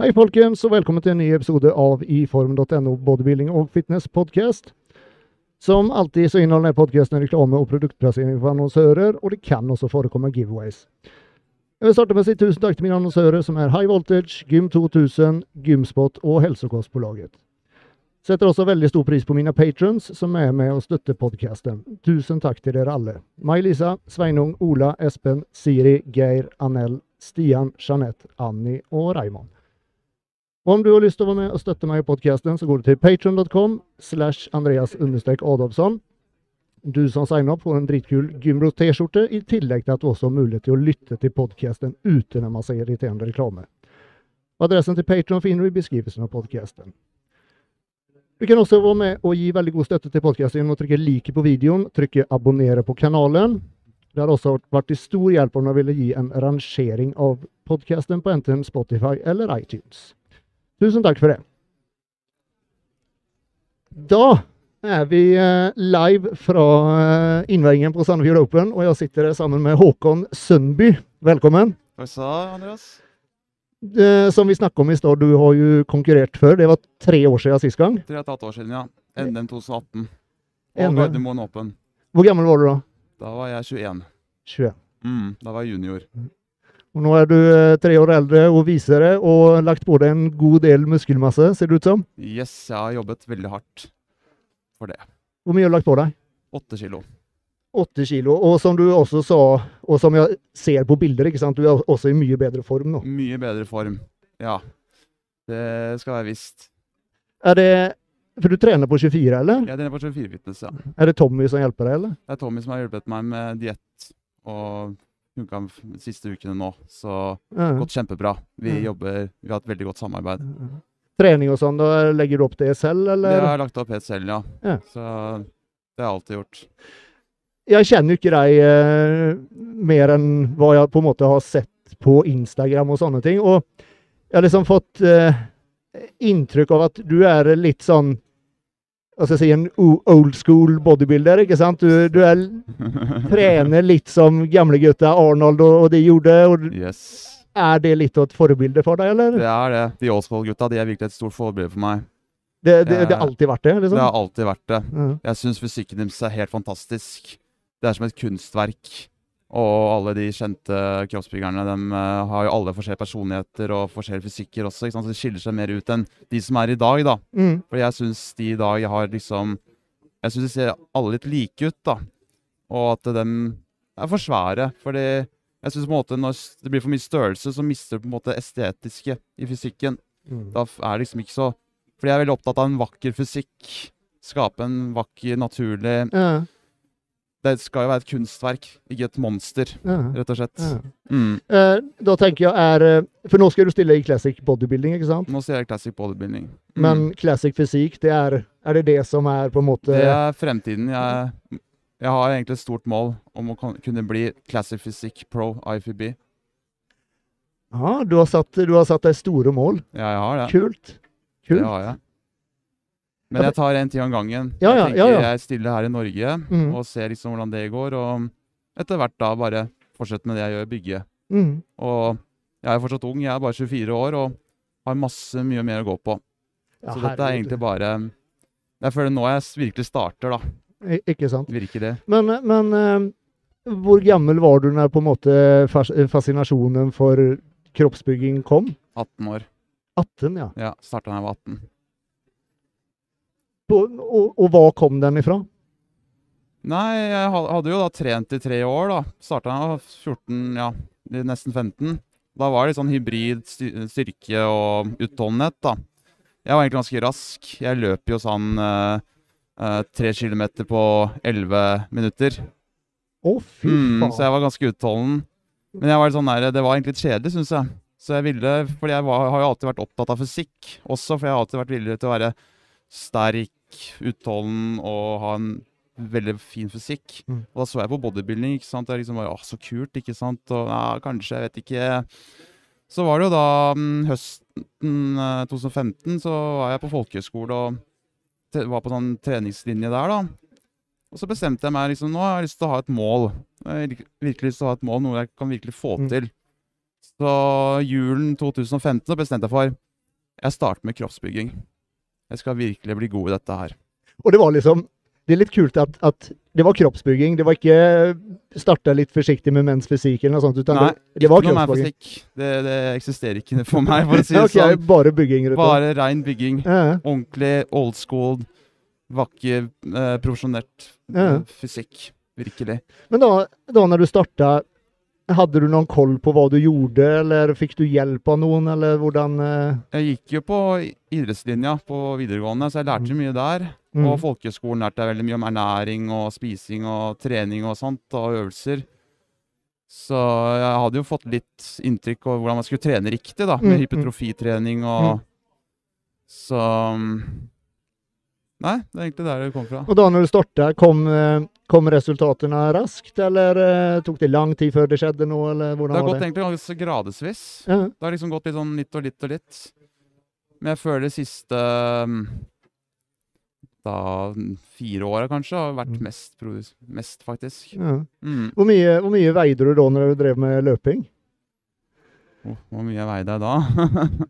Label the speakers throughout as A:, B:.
A: Hei, folkens, og velkommen til en ny episode av iform.no bodybuilding og fitness podcast. Som alltid så inneholder podkasten reklame og produktplassering for annonsører, og det kan også forekomme giveaways. Jeg vil starte med å si tusen takk til mine annonsører, som er High Voltage, Gym 2000, Gymspot og Helsekostbolaget. Setter også veldig stor pris på mine patrons, som er med og støtter podkasten. Tusen takk til dere alle. May-Lisa, Sveinung, Ola, Espen, Siri, Geir, Anel, Stian, Jeanette, Anni og Raymond. Og om du har lyst til å være med og støtte meg i podkasten, så går du til patron.com slash Andreas understrek Adolfsson. Du som signer opp, får en dritkul Gymbro-T-skjorte, i tillegg til at du også har mulighet til å lytte til podkasten uten en masse irriterende reklame. Adressen til Patron finner du i beskrivelsen av podkasten. Du kan også være med og gi veldig god støtte til podkasten gjennom å trykke 'like' på videoen, trykke 'abonnere' på kanalen. Det har også vært til stor hjelp om du ville gi en rangering av podkasten på enten Spotify eller iTunes. Tusen takk for det. Da er vi eh, live fra eh, innveiingen på Sandefjord Open, og jeg sitter her sammen med Håkon Sundby. Velkommen.
B: Hva sa Andreas?
A: Eh, Som vi snakket om i stad, du har jo konkurrert før. Det var tre år siden sist gang.
B: Tre og et halvt år siden, ja. NM 2018. Og
A: NM.
B: Gardermoen Open.
A: Hvor gammel var du da?
B: Da var jeg 21.
A: 21.
B: Mm, da var jeg junior.
A: Og nå er du eh, tre år eldre og visere og har lagt på deg en god del muskelmasse, ser det ut som.
B: Yes, jeg har jobbet veldig hardt for det.
A: Hvor mye har du lagt på deg?
B: Åtte kilo.
A: 8 kilo. Og som du også sa, og som jeg ser på bilder, ikke sant? du er også i mye bedre form nå.
B: Mye bedre form. Ja. Det skal være visst.
A: Er det For du trener på 24, eller?
B: Jeg trener på 24 Fitness, ja.
A: Er det Tommy som hjelper deg, eller?
B: Det er Tommy som har hjulpet meg med diett og funka de siste ukene nå. Så
A: Ja.
B: gått kjempebra. Vi
A: Mm.
B: jobber Vi har et veldig godt samarbeid.
A: Trening og sånn, da legger du opp det selv,
B: Det
A: eller?
B: har jeg lagt opp helt selv, ja.
A: Ja.
B: Så det har jeg alltid gjort.
A: Jeg kjenner jo ikke deg eh, mer enn hva jeg på en måte har sett på Instagram og sånne ting. Og jeg har liksom fått eh, inntrykk av at du er litt sånn Hva skal jeg si, en o- old school bodybuilder, ikke sant? Du, du er, trener litt som gamlegutta Arnold og, og de gjorde. Og
B: Yes.
A: er det litt av et forbilde for deg, eller?
B: Det er det. De Oldsvold-gutta de er virkelig et stort forbilde for meg.
A: Det, det, det
B: det
A: har alltid vært det,
B: Det
A: liksom?
B: har alltid vært det.
A: Ja.
B: Jeg syns fysikken deres er helt fantastisk. Det er som et kunstverk. Og alle de kjente kroppsbyggerne de har jo alle forskjellige personligheter og forskjellige fysikker også. Ikke sant? Så de skiller seg mer ut enn de som er i dag, da.
A: Mm.
B: For jeg syns de i dag har liksom Jeg syns de ser alle litt like ut, da. Og at de er for svære. Fordi jeg syns på en måte når det blir for mye størrelse, så mister du på en måte estetiske i fysikken.
A: Mm.
B: Da f- er det liksom ikke så Fordi jeg er veldig opptatt av en vakker fysikk. Skape en vakker, naturlig
A: Ja,
B: Det skal jo være et kunstverk, ikke et monster,
A: ja,
B: rett og slett.
A: ja.
B: Mm.
A: Eh, da tenker jeg er eh, For nå skal du stille i classic bodybuilding, ikke sant?
B: Nå ser jeg classic bodybuilding. Mm.
A: Men classic fysikk, det er Er det det som er på en måte
B: det er fremtiden. Jeg, jeg har egentlig et stort mål om å kon- kunne bli classic physique pro IFB.
A: Ja, du har satt, du har satt deg store mål.
B: Ja, jeg har det.
A: Kult.
B: Det
A: Kult.
B: har jeg. Men jeg tar en ting om gangen.
A: Ja, ja,
B: jeg
A: ja,
B: tenker
A: ja.
B: jeg stiller her i Norge
A: Mm.
B: og ser liksom hvordan det går, og etter hvert da bare fortsette med det jeg gjør, bygge.
A: Mm.
B: Og jeg er jo fortsatt ung, jeg er bare 24 år og har masse mye mer å gå på.
A: Ja,
B: så dette er
A: herregud.
B: egentlig bare Jeg føler nå jeg s- virkelig starter, da.
A: I- Ikke sant.
B: Virkelig.
A: Men, men eh, hvor gammel var du når på en måte fas fascinasjonen for kroppsbygging kom?
B: 18 år.
A: 18, ja.
B: Ja, starta da jeg var 18.
A: På, og, og hva kom den ifra?
B: Nei, jeg ha- hadde jo da trent i tre år, da. Starta da jeg var 14, ja, i nesten 15. Da var det litt sånn hybrid sty- styrke og utholdenhet, da. Jeg var egentlig ganske rask. Jeg løp jo sånn eh, eh, tre kilometer på 11 minutter.
A: Å, fy
B: Mm,
A: faen.
B: så jeg var ganske utholden. Men jeg var litt sånn der, det var egentlig litt kjedelig, syns jeg. Så jeg ville, fordi jeg var, har jo alltid vært opptatt av fysikk også, for jeg har alltid vært villig til å være sterk, utholden og ha en veldig fin fysikk.
A: Mm.
B: Og da så jeg på bodybuilding, ikke sant. Jeg liksom bare, åh, så kult, ikke sant. Og ja, kanskje, jeg vet ikke. Så var det jo da mm, høsten eh, 2015, så var jeg på folkehøyskole og te- var på sånn treningslinje der, da. Og så bestemte jeg meg liksom, Eh, nå har jeg lyst til å ha et mål. Jeg har virk- virkelig lyst til å ha et mål, noe jeg kan virkelig få
A: Mm.
B: til. Så Så julen 2015 så bestemte jeg for jeg starter med kroppsbygging. Jeg skal virkelig bli god i dette her.
A: Og det var liksom Det er litt kult at, at det var kroppsbygging. Det var ikke starta litt forsiktig med menns fysikk eller noe sånt, utan
B: Nei,
A: det, det var
B: Ikke noe mer
A: kroppsbygging.
B: fysikk. Det, det eksisterer ikke for meg, for å si det
A: Ok, bare bygging,
B: sånn.
A: rett og slett.
B: Bare rein bygging.
A: Ja,
B: Ordentlig old school, vakker, eh, profesjonelt
A: Ja.
B: eh, fysikk. Virkelig.
A: Men da, da når du starta, hadde du noen koll på hva du gjorde, eller fikk du hjelp av noen, eller hvordan eh,
B: Jeg gikk jo på i- idrettslinja på videregående, så jeg lærte jo mye der.
A: mm.
B: Og folkehøgskolen lærte jeg veldig mye om ernæring og spising og trening og sånt, og øvelser. Så jeg hadde jo fått litt inntrykk av hvordan man skulle trene riktig, da, med
A: Mm, mm.
B: hypertrofitrening og Så mm, Nei, det er egentlig der det kom fra.
A: Og da når du starta, kom, eh, kom resultatene raskt, eller eh, tok det lang tid før det skjedde noe, eller
B: Det har
A: hvordan var
B: gått
A: det?
B: egentlig ganske gradesvis.
A: Ja,
B: Det har liksom gått litt sånn litt og litt og litt. Men jeg føler de siste mm, da fire åra kanskje har vært
A: Mm.
B: mest, produs- mest faktisk.
A: ja.
B: Mm.
A: Hvor, mye, hvor mye veide du da når du drev med løping?
B: Oh, hvor mye veide jeg da?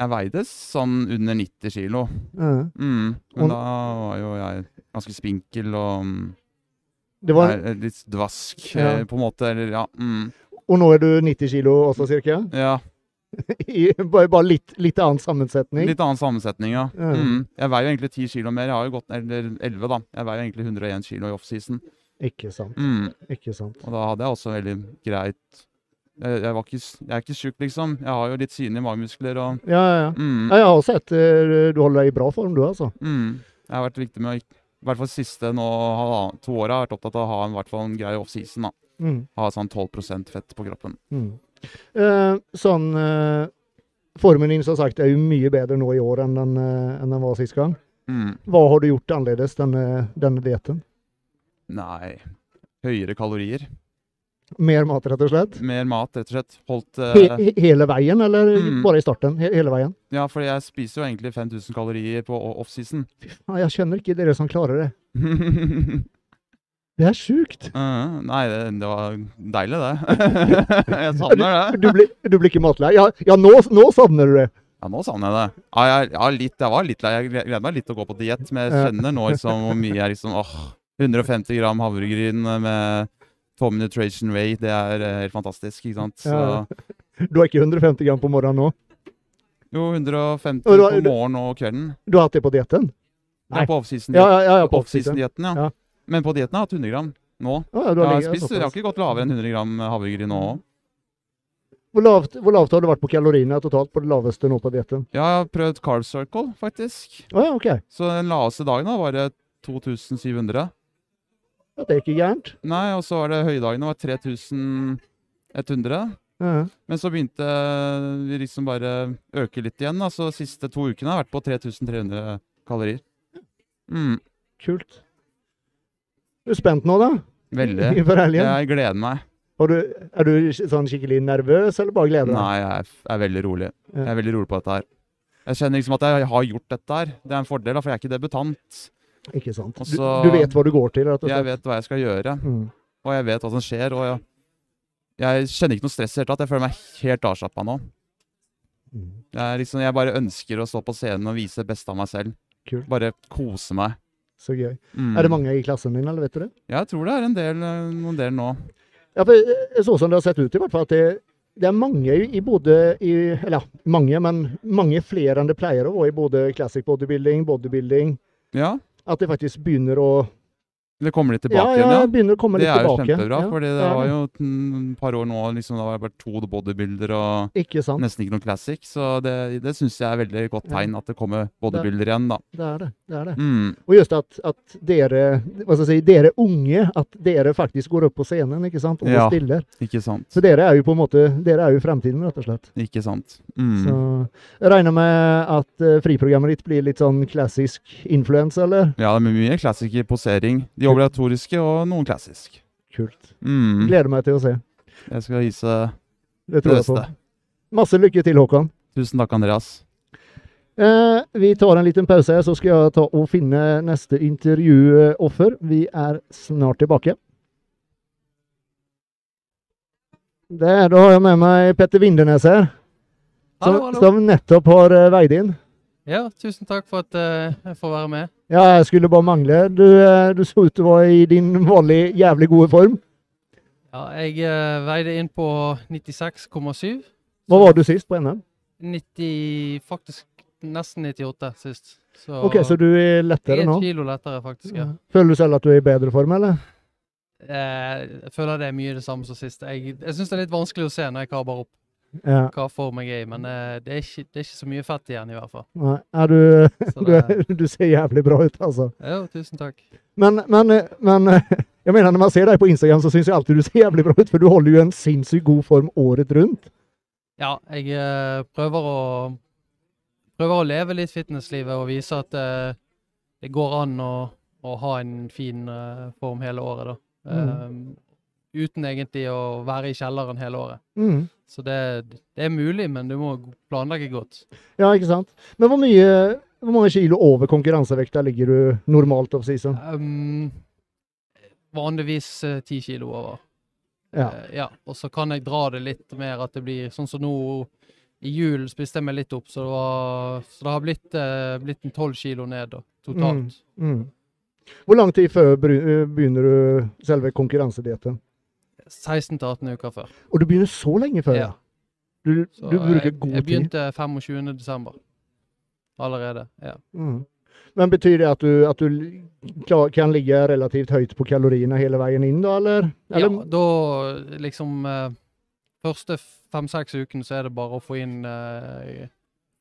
B: jeg veide sånn under 90 kilo.
A: Ja.
B: Mm.
A: Og-
B: Men da var jo jeg ganske spinkel og mm,
A: Det var,
B: nei, litt dvask,
A: Ja.
B: eh, på en måte. Eller ja. Mm.
A: og nå er du 90 kilo også, cirka?
B: ja.
A: I, bare bare litt, litt annen sammensetning?
B: Litt annen sammensetning, ja.
A: Ja.
B: Mm. Jeg veier jo egentlig 10 kilo mer. Jeg har jo gått Eller 11, da. Jeg veier jo egentlig 101 kilo i offseason.
A: Ikke sant.
B: Mm.
A: Ikke sant.
B: Og da hadde jeg også veldig greit Jeg, jeg, var ikke, s- jeg er ikke tjukk, liksom. Jeg har jo litt synlige magemuskler og
A: Ja, ja, ja.
B: mm,
A: Ja, Jeg har sett eh, du holder deg i bra form, du, altså.
B: mm. Jeg har vært viktig med å ikke- I hvert fall siste nå, halvann- to åra har jeg vært opptatt av å ha en, i hvert fall en grei offseason. da.
A: Mm.
B: Ha sånn 12 fett på kroppen.
A: Mm. Eh, sånn eh, Formen din som sagt er jo mye bedre nå i år enn den, eh, enn den var sist gang.
B: Mm.
A: Hva har du gjort annerledes denne, denne dietten?
B: Nei Høyere kalorier.
A: Mer mat, rett og slett?
B: Mer mat, rett og slett. Holdt
A: He
B: eh,
A: he- hele veien, eller
B: Mm.
A: bare i starten? He hele veien?
B: Ja, for jeg spiser jo egentlig 5000 kalorier på o- offseason.
A: Nei, jeg skjønner ikke dere som klarer det.
B: uh,
A: Det er sjukt!
B: Eh, nei, det, det var deilig, det. jeg savner det.
A: Du blir, du blir ikke matlei? Ja, ja nå, nå savner du det!
B: Ja, nå savner jeg det. Ja, jeg, ja, litt, jeg var litt lei. Jeg gled- gleder meg litt til å gå på diett, men jeg
A: Ja.
B: kjenner nå liksom hvor mye jeg liksom åh, 150 gram havregryn med Tommy Nutrition Way, det er eh, helt fantastisk, ikke sant? Så,
A: Ja. Du har ikke 150 gram på morgenen nå?
B: jo, 150
A: Og du har-
B: på morgen og kvelden.
A: Du har hatt det på dietten?
B: Ja,
A: Nei.
B: på offseason
A: Ja, ja, ja, ja, på offseason.
B: dietten ja.
A: Ja.
B: Men på dietten har jeg hatt 100 gram nå.
A: Å, ja, du har
B: Jeg har,
A: ligget
B: spist, jeg har
A: såpass. Mm.
B: ikke gått lavere enn 100 gram havregryn nå.
A: Hvor lavt, hvor lavt har du vært på kaloriene totalt på det laveste nå på dietten?
B: Jeg har prøvd carb circle, faktisk.
A: Å ja, OK.
B: Så den laveste dagen da var det 2700.
A: Ja, det er ikke gærent.
B: Nei, og så var det høydagene var 3100.
A: Ja.
B: Men så begynte vi liksom bare øke litt igjen. da, så de siste to ukene har jeg vært på 3300 kalorier. Mm,
A: Kult. Er du spent nå, da?
B: veldig.
A: Innenfor helgen?
B: Jeg gleder meg.
A: Har du, er du sk- sånn skikkelig nervøs, eller bare gleder deg?
B: Nei, jeg er, f- er veldig rolig.
A: Ja.
B: Jeg er veldig rolig på dette her. Jeg kjenner liksom at jeg har gjort dette her. Det er en fordel, da, for jeg er ikke debutant.
A: Ikke sant.
B: Og
A: Du,
B: så-
A: du vet hva du går til, rett og
B: Jeg
A: slett.
B: vet hva jeg skal gjøre,
A: Mm.
B: og jeg vet hva som skjer. og jeg, jeg kjenner ikke noe stress i det hele tatt. Jeg føler meg helt avslappa nå.
A: Mm.
B: Det er liksom, jeg bare ønsker å stå på scenen og vise det beste av meg selv.
A: Kult.
B: Bare kose meg.
A: Så gøy.
B: Mm.
A: Er det mange i klassen din, eller vet du det?
B: Jeg tror det er en del, eh, noen del nå.
A: Ja, for eh, sånn som det har sett ut, i hvert fall, at det, det er mange i i både i Eller ja, mange, men mange flere enn det pleier å være i både classic bodybuilding, bodybuilding
B: Ja,
A: At det faktisk begynner å
B: det kommer litt
A: Ja,
B: tilbake
A: ja,
B: igjen, ja.
A: begynner å komme
B: Det
A: litt
B: er jo
A: tilbake.
B: kjempebra,
A: ja,
B: fordi
A: det
B: det
A: er
B: var
A: det.
B: jo et mm, par år nå liksom, det har vært to bodybuilder og
A: Ikke sant.
B: nesten ikke noen classic, så det, det syns jeg er veldig godt
A: Ja.
B: tegn at det kommer bodybuilder igjen, da.
A: Det er det. det er det.
B: Mm.
A: Og just at, at dere hva skal jeg si, dere unge, at dere faktisk går opp på scenen ikke sant, og
B: Ja.
A: stiller.
B: Ikke sant.
A: Så dere er jo på en måte, dere er jo fremtiden, rett og slett.
B: Ikke sant. Mm.
A: Så jeg regner med at eh, friprogrammet ditt blir litt sånn klassisk influens, eller?
B: Ja, det er mye classic i posering. De obligatoriske og noen classic.
A: Kult.
B: Mm.
A: Gleder meg til å se.
B: Jeg skal vise
A: Det
B: det
A: tror jeg på.
B: beste.
A: Masse lykke til, Håkan.
B: Tusen takk, Andreas.
A: Eh, vi tar en liten pause, her, så skal jeg ta og finne neste intervjuoffer. Vi er snart tilbake. Där, då har jag med mig Petter Vindenes här. Som,
C: Hallo, hallo.
A: som nettopp har eh, veid inn.
C: Ja, tusen takk for at eh, jeg får være med.
A: Ja, jeg skulle bare mangle. Du, eh, du så ut til å være i din vanlige jævlig gode form.
C: Ja, jeg eh, veide inn på 96,7.
A: Hva var du sist på NM?
C: 90, faktisk nesten 98 sist. Så,
A: Ok, så du er lettere nå?
C: En kilo lettere, faktisk. ja.
A: Føler du selv at du er i bedre form, eller?
C: Eh, jeg føler det er mye det samme som sist. Jeg, jeg syns det er litt vanskelig å se når jeg kabber opp
A: Ja.
C: hva form jeg er i, men eh, det, er ikke, det er ikke så mye fett igjen, i hvert fall.
A: Nei, er du,
C: Så
A: du,
C: det,
A: er- du ser jævlig bra ut, altså.
C: jo, tusen takk.
A: Men, men, eh, men eh, jeg mener, når man ser deg på Instagram, så syns jeg alltid du ser jævlig bra ut, for du holder jo en sinnssykt god form året rundt.
C: Ja, jeg eh, prøver å prøver å leve litt fitnesslivet og vise at eh, det går an å, å ha en fin eh, form hele året, da.
A: Mm.
C: Eh, uten egentlig å være i kjelleren hele året.
A: Mm.
C: Så det, det er mulig, men du må planlegge godt.
A: Ja, ikke sant? Men hvor mye hvor mange kilo over konkurransevekta ligger du normalt off season?
C: Um, vanligvis eh, ti kilo over.
A: Ja.
C: Eh, ja. Og så kan jeg dra det litt mer at det blir sånn som nå i julen spiste jeg meg litt opp, så det, var, så det har blitt, eh, blitt en tolv kilo ned da, totalt.
A: Mm. Mm. Hvor lang tid før bry- eh, begynner du selve konkurransedietten?
C: 16 til 18 uker før.
A: Og du begynner så lenge før,
C: Ja.
A: ja? Du,
C: Så
A: du bruker
C: jeg,
A: god
C: jeg
A: tid.
C: begynte 25. desember allerede. ja.
A: Mm. Men betyr det at du, at du l- klar, kan ligge relativt høyt på kaloriene hele veien inn, da, eller?
C: ja
A: eller
C: da liksom eh, Første fem-seks ukene så er det bare å få inn, eh,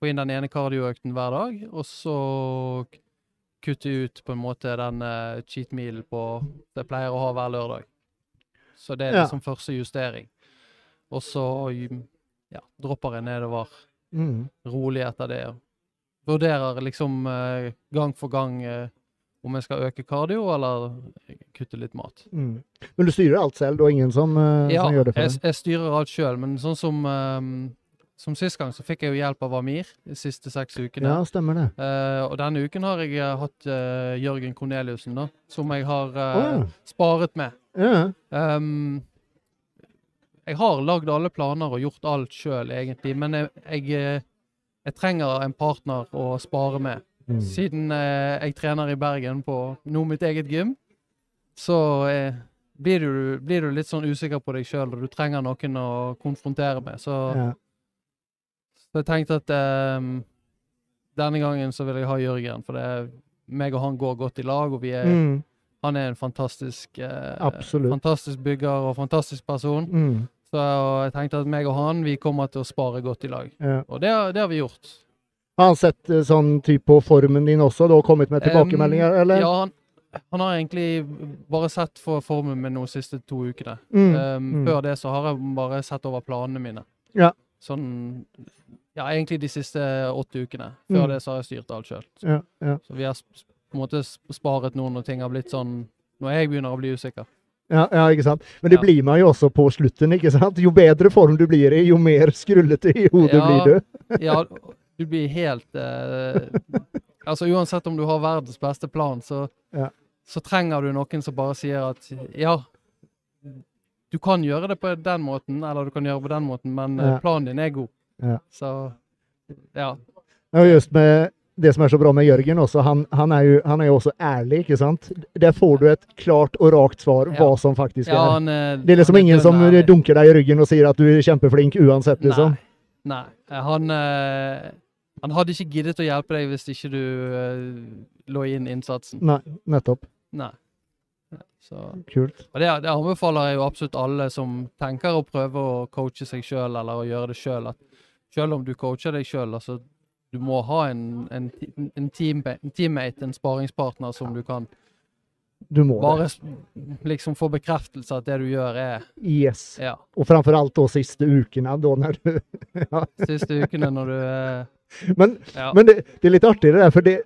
C: få inn den ene kardioøkten hver dag, og så k- kutte ut på en måte den eh, cheat meal på det jeg pleier å ha hver lørdag. Så det er
A: Ja.
C: liksom første justering. Og så ja, dropper jeg nedover
A: Mm.
C: rolig etter det. og Vurderer liksom eh, gang for gang eh, om jeg skal øke kardio eller kutte litt mat.
A: Mm. Men du styrer alt selv, og ingen som, eh,
C: Ja,
A: som gjør det for
C: jeg,
A: deg?
C: jeg styrer alt sjøl, men sånn som eh, som sist gang, så fikk jeg jo hjelp av Amir de siste seks ukene.
A: Ja, stemmer det.
C: Eh, og denne uken har jeg eh, hatt eh, Jørgen Korneliussen, da, som jeg har eh,
A: Å,
C: sparet med.
A: ja.
C: Ehm, jeg har lagd alle planer og gjort alt sjøl, egentlig, men jeg, jeg, eh, jeg trenger en partner å spare med.
A: Mm.
C: Siden eh, jeg trener i Bergen på nå mitt eget gym, så eh, blir, du, blir du litt sånn usikker på deg sjøl, og du trenger noen å konfrontere med. Så,
A: Ja.
C: så jeg tenkte at eh, denne gangen så vil jeg ha Jørgen, for det er meg og han går godt i lag, og vi er,
A: Mm.
C: han er en fantastisk, eh,
A: Absolutt.
C: fantastisk bygger og fantastisk person.
A: Mm.
C: Så jeg tenkte at meg og han, vi kommer til å spare godt i lag.
A: Ja.
C: Og det, har- det har vi gjort.
A: Har han sett eh, sånn type på formen din også, da, og kommet med tilbakemeldinger,
C: Em,
A: eller?
C: Eh, mm, Ja, han, han har egentlig bare sett for formen min nå de siste to ukene.
A: Mm.
C: Em,
A: mm.
C: Før det så har jeg bare sett over planene mine.
A: Ja.
C: Sånn Ja, egentlig de siste åtte ukene. Før
A: Mm.
C: det så har jeg styrt alt sjøl.
A: ja, ja.
C: Så vi har sp- sp- på en måte sp- sparet noe når ting har blitt sånn Når jeg begynner å bli usikker.
A: Ja, ja, ikke sant? Men det
C: Ja.
A: blir man jo også på slutten, ikke sant? Jo bedre form du blir i, jo mer skrullete i hodet
C: Ja.
A: blir du.
C: Ja, du blir helt eh, Altså uansett om du har verdens beste plan, så,
A: Ja.
C: så trenger du noen som bare sier at ja, du kan gjøre det på den måten, eller du kan gjøre det på den måten, men eh,
A: Ja.
C: planen din er god.
A: Ja.
C: Så ja.
A: Ja, og just med det som er så bra med Jørgen også, han, han, er, jo, han er jo også ærlig, ikke sant? Der får du et klart og rakt svar
C: Ja.
A: hva som faktisk
C: ja
A: er.
C: han,
A: Det er liksom ingen som dunker deg i ryggen og sier at du er kjempeflink uansett, liksom.
C: Nei. nei. Eh, Han, eh, han hadde ikke giddet å hjelpe deg hvis ikke du eh, lå inn innsatsen.
A: Nei, nettopp.
C: Nei. Så
A: Kult.
C: Og det, det anbefaler jeg jo absolutt alle som tenker å prøve å coache seg sjøl eller å gjøre det sjøl. Sjøl om du coacher deg sjøl, altså du må ha en, en, ti- en, teamba- en teammate, en sparingspartner, som du kan
A: Du må
C: bare
A: det.
C: s- liksom få bekreftelse at det du gjør, er
A: Yes.
C: Ja.
A: Og framfor alt da siste ukene, da når du
C: Siste ukene når du er
A: Men
C: Ja.
A: Men det, det er litt artig det der, for det,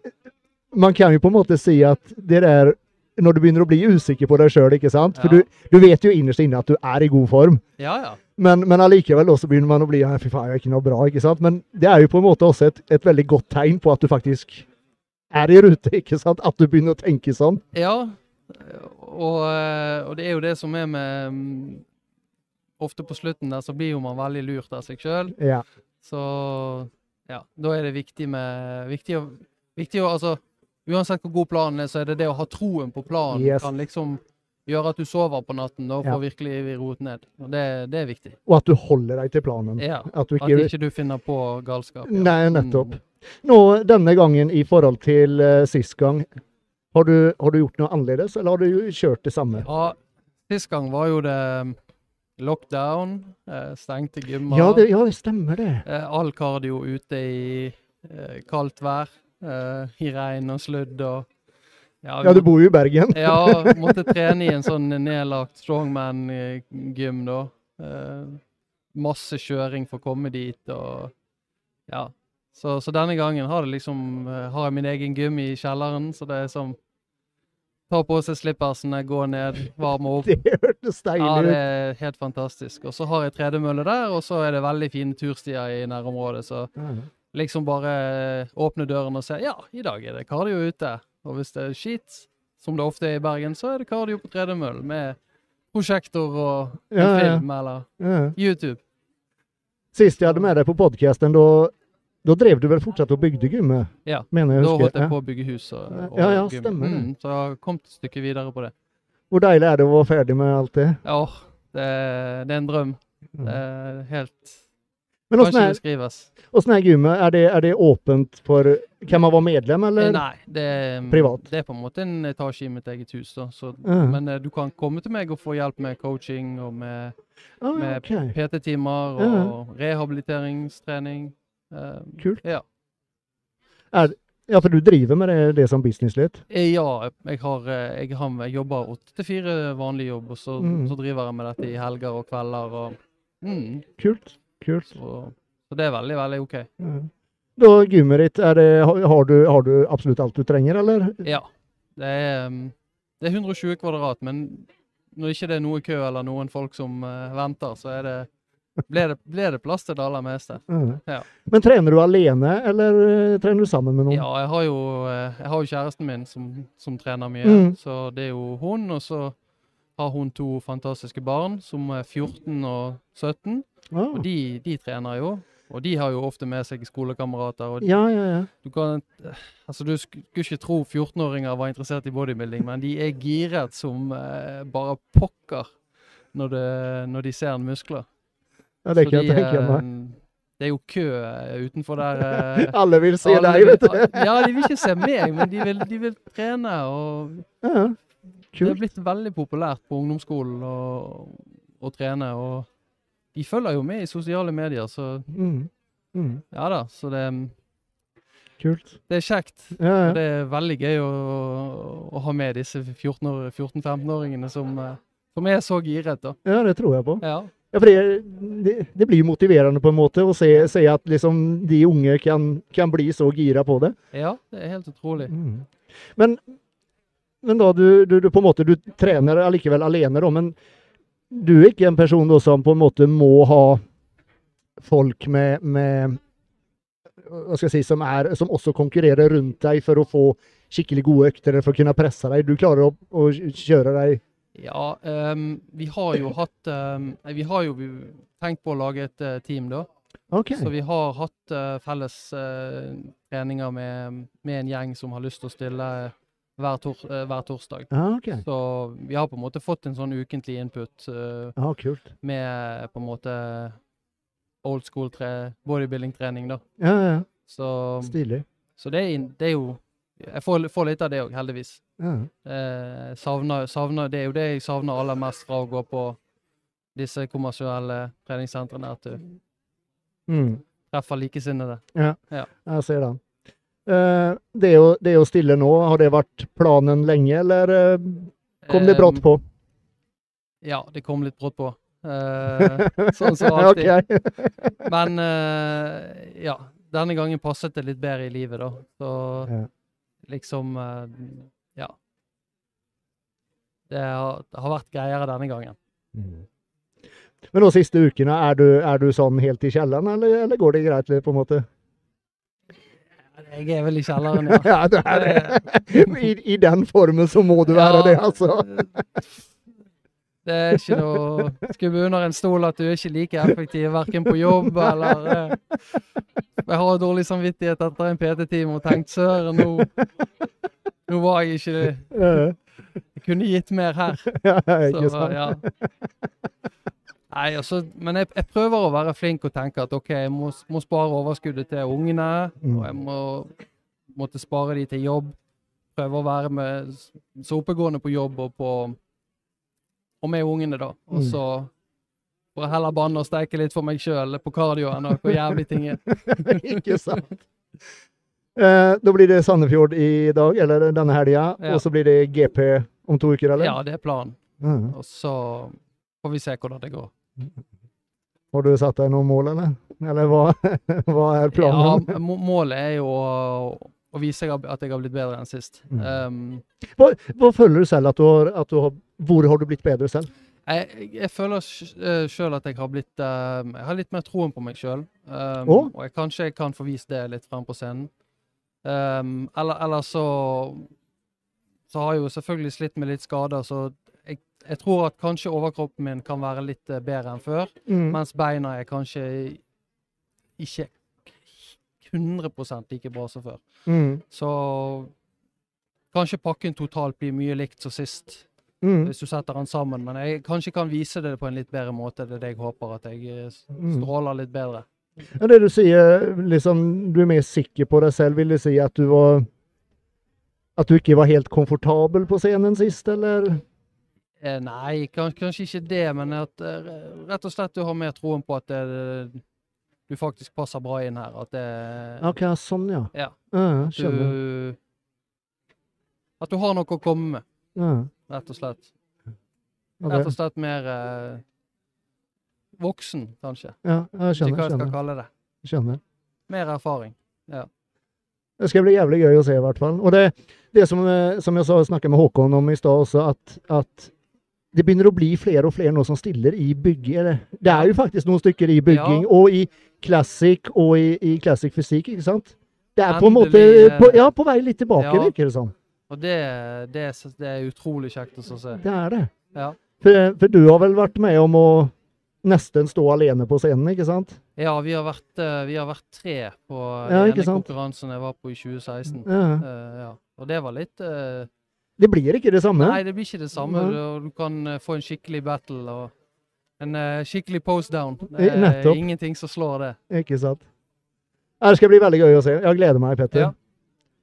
A: man kan jo på en måte si at det der når du begynner å bli usikker på deg sjøl, ikke sant? For
C: Ja.
A: du, du vet jo innerst inne at du er i god form,
C: Ja, ja.
A: men, men allikevel da så begynner man å bli ja, fy faen, jeg er ikke noe bra, ikke sant? Men det er jo på en måte også et, et veldig godt tegn på at du faktisk er i rute, ikke sant? At du begynner å tenke sånn.
C: Ja, og, eh, og det er jo det som er med mm, ofte på slutten der så blir jo man veldig lurt av seg sjøl.
A: Ja.
C: Så ja, da er det viktig med Viktig å, viktig å altså, Uansett hvor god planen er, så er det det å ha troen på planen
A: Yes.
C: kan liksom gjøre at du sover på natten da, og
A: Ja.
C: får virkelig roet ned. Og det, det er viktig.
A: Og at du holder deg til planen.
C: Ja.
A: At du
C: At
A: ikke
C: ikke Mm. du finner på galskap. ja.
A: Mm. Nei, nettopp. Nå, denne gangen i forhold til eh, sist gang, har du, har du gjort noe annerledes, eller har du kjørt det samme?
C: Ja, sist gang var jo det um, lockdown, eh, stengte gymmer,
A: Ja, det, ja, det stemmer det.
C: eh, all kardio ute i eh, kaldt vær, eh, i regn og sludd og Ja, vi
A: Ja, du
C: måtte-
A: bor jo i Bergen.
C: ja, måtte trene i en sånn nedlagt strongman-gym da. Eh, masse kjøring for å komme dit og Ja. Så, så denne gangen har, det liksom, eh, har jeg min egen gym i kjelleren, så det er som Ta på seg slippersene, gå ned, varme opp.
A: Det hørtes
C: Ja,
A: deilig
C: det
A: ut.
C: er helt fantastisk. Og så har jeg tredemølle der, og så er det veldig fine turstier i nærområdet. Så
A: Ja.
C: liksom bare åpne døren og se ja, i dag er det kardio ute. Og hvis det er skit, som det ofte er i Bergen, så er det kardio på tredemølle med prosjektor og en
A: Ja, ja.
C: film eller
A: Ja.
C: YouTube.
A: Sist jeg hadde med deg på podkasten, da, da drev du vel fortsatt og bygde gymmet?
C: Ja,
A: Mener jeg
C: Da holdt
A: husker.
C: jeg
A: Ja.
C: på å bygge hus og, og
A: Ja, ja,
C: gym.
A: stemmer det.
C: Mm, så jeg har kommet et stykke videre på det.
A: Hvor deilig er det å være ferdig med alt det?
C: Ja, åh, det, er- det er en drøm.
A: Ja.
C: Det er helt
A: Mm. Men
C: Kan ikke
A: åssen er,
C: beskrives.
A: åssen er gymmet? Er det, er det åpent for Kan man være medlem,
C: Eh,
A: eller?
C: Nei, det er,
A: Privat?
C: det er på en måte en etasje i mitt eget hus. Da. Så,
A: Ja.
C: Men eh, du kan komme til meg og få hjelp med coaching og med
A: Ah,
C: med-
A: ok.
C: PT-timer og rehabiliteringstrening. Eh,
A: Kult.
C: Ja.
A: Ja, for du driver med det, det som business litt?
C: Eh, ja, jeg, har, eh, jeg, har, jeg jobber åtte til fire vanlig jobb, og så,
A: Mm.
C: så driver jeg med dette i helger og kvelder. Og, mm,
A: Kult. Kult.
C: så, så det er veldig, veldig OK.
A: Ja. Da gymmet ditt, er det, har, har du, har du absolutt alt du trenger, eller?
C: Ja. Det er, mm, det er 120 kvadrat, men når ikke det er noe kø eller noen folk som eh, venter, så er det ble, det, ble det plass til det aller meste.
A: Ja.
C: Ja.
A: Men trener du alene, eller eh, trener du sammen med noen?
C: Ja, jeg har jo, eh, jeg har jo kjæresten min som, som trener mye,
A: Mm.
C: så det er jo hun. Og så har hun to fantastiske barn som er 14 og 17, og
A: Ah.
C: de, de trener jo. Og de har jo ofte med seg skolekamerater. og
A: Ja, ja, ja.
C: Du kan eh, Altså, du sk- skulle ikke tro 14-åringer var interessert i bodybuilding, men de er giret som eh, bare pokker når, det, når de ser muskler.
A: ja det
C: Så
A: kan
C: de,
A: jeg tenke meg.
C: eh, Det er jo kø eh, utenfor der. eh,
A: Alle vil se
C: alle
A: deg,
C: vil-
A: vet du.
C: Ja, de vil ikke se meg, men de vil, de vil trene. og
A: Ja.
C: Det er
A: Kult.
C: blitt veldig populært på ungdomsskolen å- å trene. og De følger jo med i sosiale medier, så
A: Mm. Mm.
C: ja da. Så det,
A: Kult.
C: det er kjekt.
A: Ja,
C: Og
A: ja.
C: det er veldig gøy å, å ha med disse 14-år- 14-15-åringene som, eh, som er så giret. da.
A: ja, det tror jeg på.
C: Ja.
A: Ja, for det, det, det blir jo motiverende på en måte å se, se at liksom de unge kan, kan bli så gira på det.
C: ja, det er helt utrolig.
A: Mm. Men, men da du, du, du på en måte du trener allikevel alene, da, men du er ikke en person da, som på en måte må ha folk med, med hva skal jeg si, som, er, som også konkurrerer rundt deg for å få skikkelig gode økter eller for å kunne presse deg. Du klarer å, å kjøre deg
C: Ja, ehm, vi har jo hatt ehm, nei, Vi har jo tenkt på å lage et eh, team, da.
A: OK.
C: Så vi har hatt eh, felles eh, treninger med, med en gjeng som har lyst til å stille hver, tor eh, hver torsdag.
A: Ja, ok.
C: Så vi har på en måte fått en sånn ukentlig input eh,
A: Ja, kult.
C: med på en måte old school tre bodybuilding-trening, da.
A: Ja, ja, ja.
C: Så,
A: Stilig.
C: så det, er, in- det er jo Jeg får, får litt av det òg, heldigvis.
A: Ja.
C: Eh, savner, savner, det er jo det jeg savner aller mest fra å gå på disse kommersielle treningssentrene, at du
A: Mm.
C: treffer likesinnede.
A: Jeg ser den. Eh, det, å, det å stille nå, har det vært planen lenge, eller eh, kom det brått
C: Ehm,
A: på?
C: Ja, det kom litt brått på. Eh, sånn som alltid.
A: Ok.
C: Men eh, ja, denne gangen passet det litt bedre i livet, da. Så
A: Ja.
C: liksom eh, Ja. Det har, det har vært greiere denne gangen. Mm.
A: Men de siste ukene, er du, er du sånn helt i kjelleren, eller, eller går det greit, på en måte?
C: Jeg er vel i kjelleren, ja.
A: Ja, det er
C: Eh.
A: det. I, I den formen så må du være det, altså.
C: Det er ikke noe Skubbe under en stol at du er ikke like effektiv verken på jobb eller eh, Jeg har dårlig samvittighet etter en PT-time og tenkt søren, nå, nå var jeg ikke
A: Eh,
C: Jeg kunne gitt mer her.
A: ja, ikke
C: Så,
A: sant?
C: ja. Nei, altså, men jeg, jeg prøver å være flink og tenke at OK, jeg må, må spare overskuddet til ungene.
A: Mm.
C: Og jeg må måtte spare de til jobb. Prøve å være med så oppegående på jobb og på Og med ungene, da. Og
A: Mm.
C: så får jeg heller banne og steike litt for meg sjøl på kardio enn hvor jævlig ting er.
A: ikke sant? Eh, da blir det Sandefjord i dag, eller denne helga,
C: Ja.
A: og så blir det GP om to uker, eller?
C: Ja, det er planen.
A: Mhm.
C: Og så får vi se hvordan det går.
A: Har du satt deg noen mål, eller? Eller hva, hva er
C: Ja,
A: planen?
C: må- målet er jo å, å vise jeg har- at jeg har blitt bedre enn sist.
A: Mm.
C: Um,
A: Hva, hva føler du selv at du har, at du har Hvor har du blitt bedre selv?
C: Jeg, jeg føler sjøl at jeg har blitt eh, Jeg har litt mer troen på meg sjøl.
A: Å?
C: Og jeg, kanskje jeg kan få vist det litt frem på scenen. Um, eller, eller så Så har jeg jo selvfølgelig slitt med litt skader, så jeg, jeg tror at kanskje overkroppen min kan være litt eh, bedre enn før,
A: Mm.
C: mens beina er kanskje ikke 100 like bra som før.
A: Mm.
C: Så kanskje pakken totalt blir mye likt som sist
A: Mm.
C: hvis du setter den sammen. Men jeg kanskje kan vise det på en litt bedre måte. Det er det jeg håper, at jeg eh, s-
A: Mm.
C: stråler litt bedre.
A: Ja, det du sier, liksom, du er mer sikker på deg selv, vil det si at du var At du ikke var helt komfortabel på scenen sist, eller?
C: Eh, nei, kan, kanskje ikke det, men at eh, rett og slett du har mer troen på at det, du faktisk passer bra inn her. At det
A: OK, sånn, ja.
C: Ja.
A: Ja,
C: du
A: skjønner.
C: At du har noe å komme med,
A: Ja,
C: rett og slett.
A: ja,
C: Rett og
A: det-
C: slett mer eh, voksen, kanskje.
A: ja, jeg
C: Ikke hva
A: skjønner.
C: jeg skal
A: skjønner,
C: kalle det.
A: skjønner.
C: Mer erfaring.
A: Det skal bli jævlig gøy å se, i hvert fall. Og det, det som, eh, som jeg sa, jeg snakket med Håkon om i stad også, at, at det begynner å bli flere og flere nå som stiller i bygging. Eller det er jo faktisk noen stykker i bygging,
C: Ja.
A: og i classic og i, i classic fysikk, ikke sant? Det er på en måte
C: Endelig, eh,
A: på, Ja, på vei litt tilbake,
C: ja.
A: virker det som.
C: Og det, det, s- det er utrolig kjekt å så se.
A: Det er det.
C: Ja.
A: For, for du har vel vært med om å nesten stå alene på scenen, ikke sant?
C: Ja, vi har vært, eh, vi har vært tre på den
A: Ja, ikke
C: ene
A: sant? Mm.
C: konkurransen jeg var på i 2016.
A: Ja.
C: Eh, ja. Og det var litt eh,
A: Det blir ikke det samme.
C: Nei, det blir ikke det samme.
A: Nei.
C: Du, og du kan eh, få en skikkelig battle og en eh, skikkelig post down.
A: Eh, nettopp.
C: ingenting som slår det.
A: Ikke sant? Ja, Det skal bli veldig gøy å se. Jeg gleder meg, Petter.
C: Ja.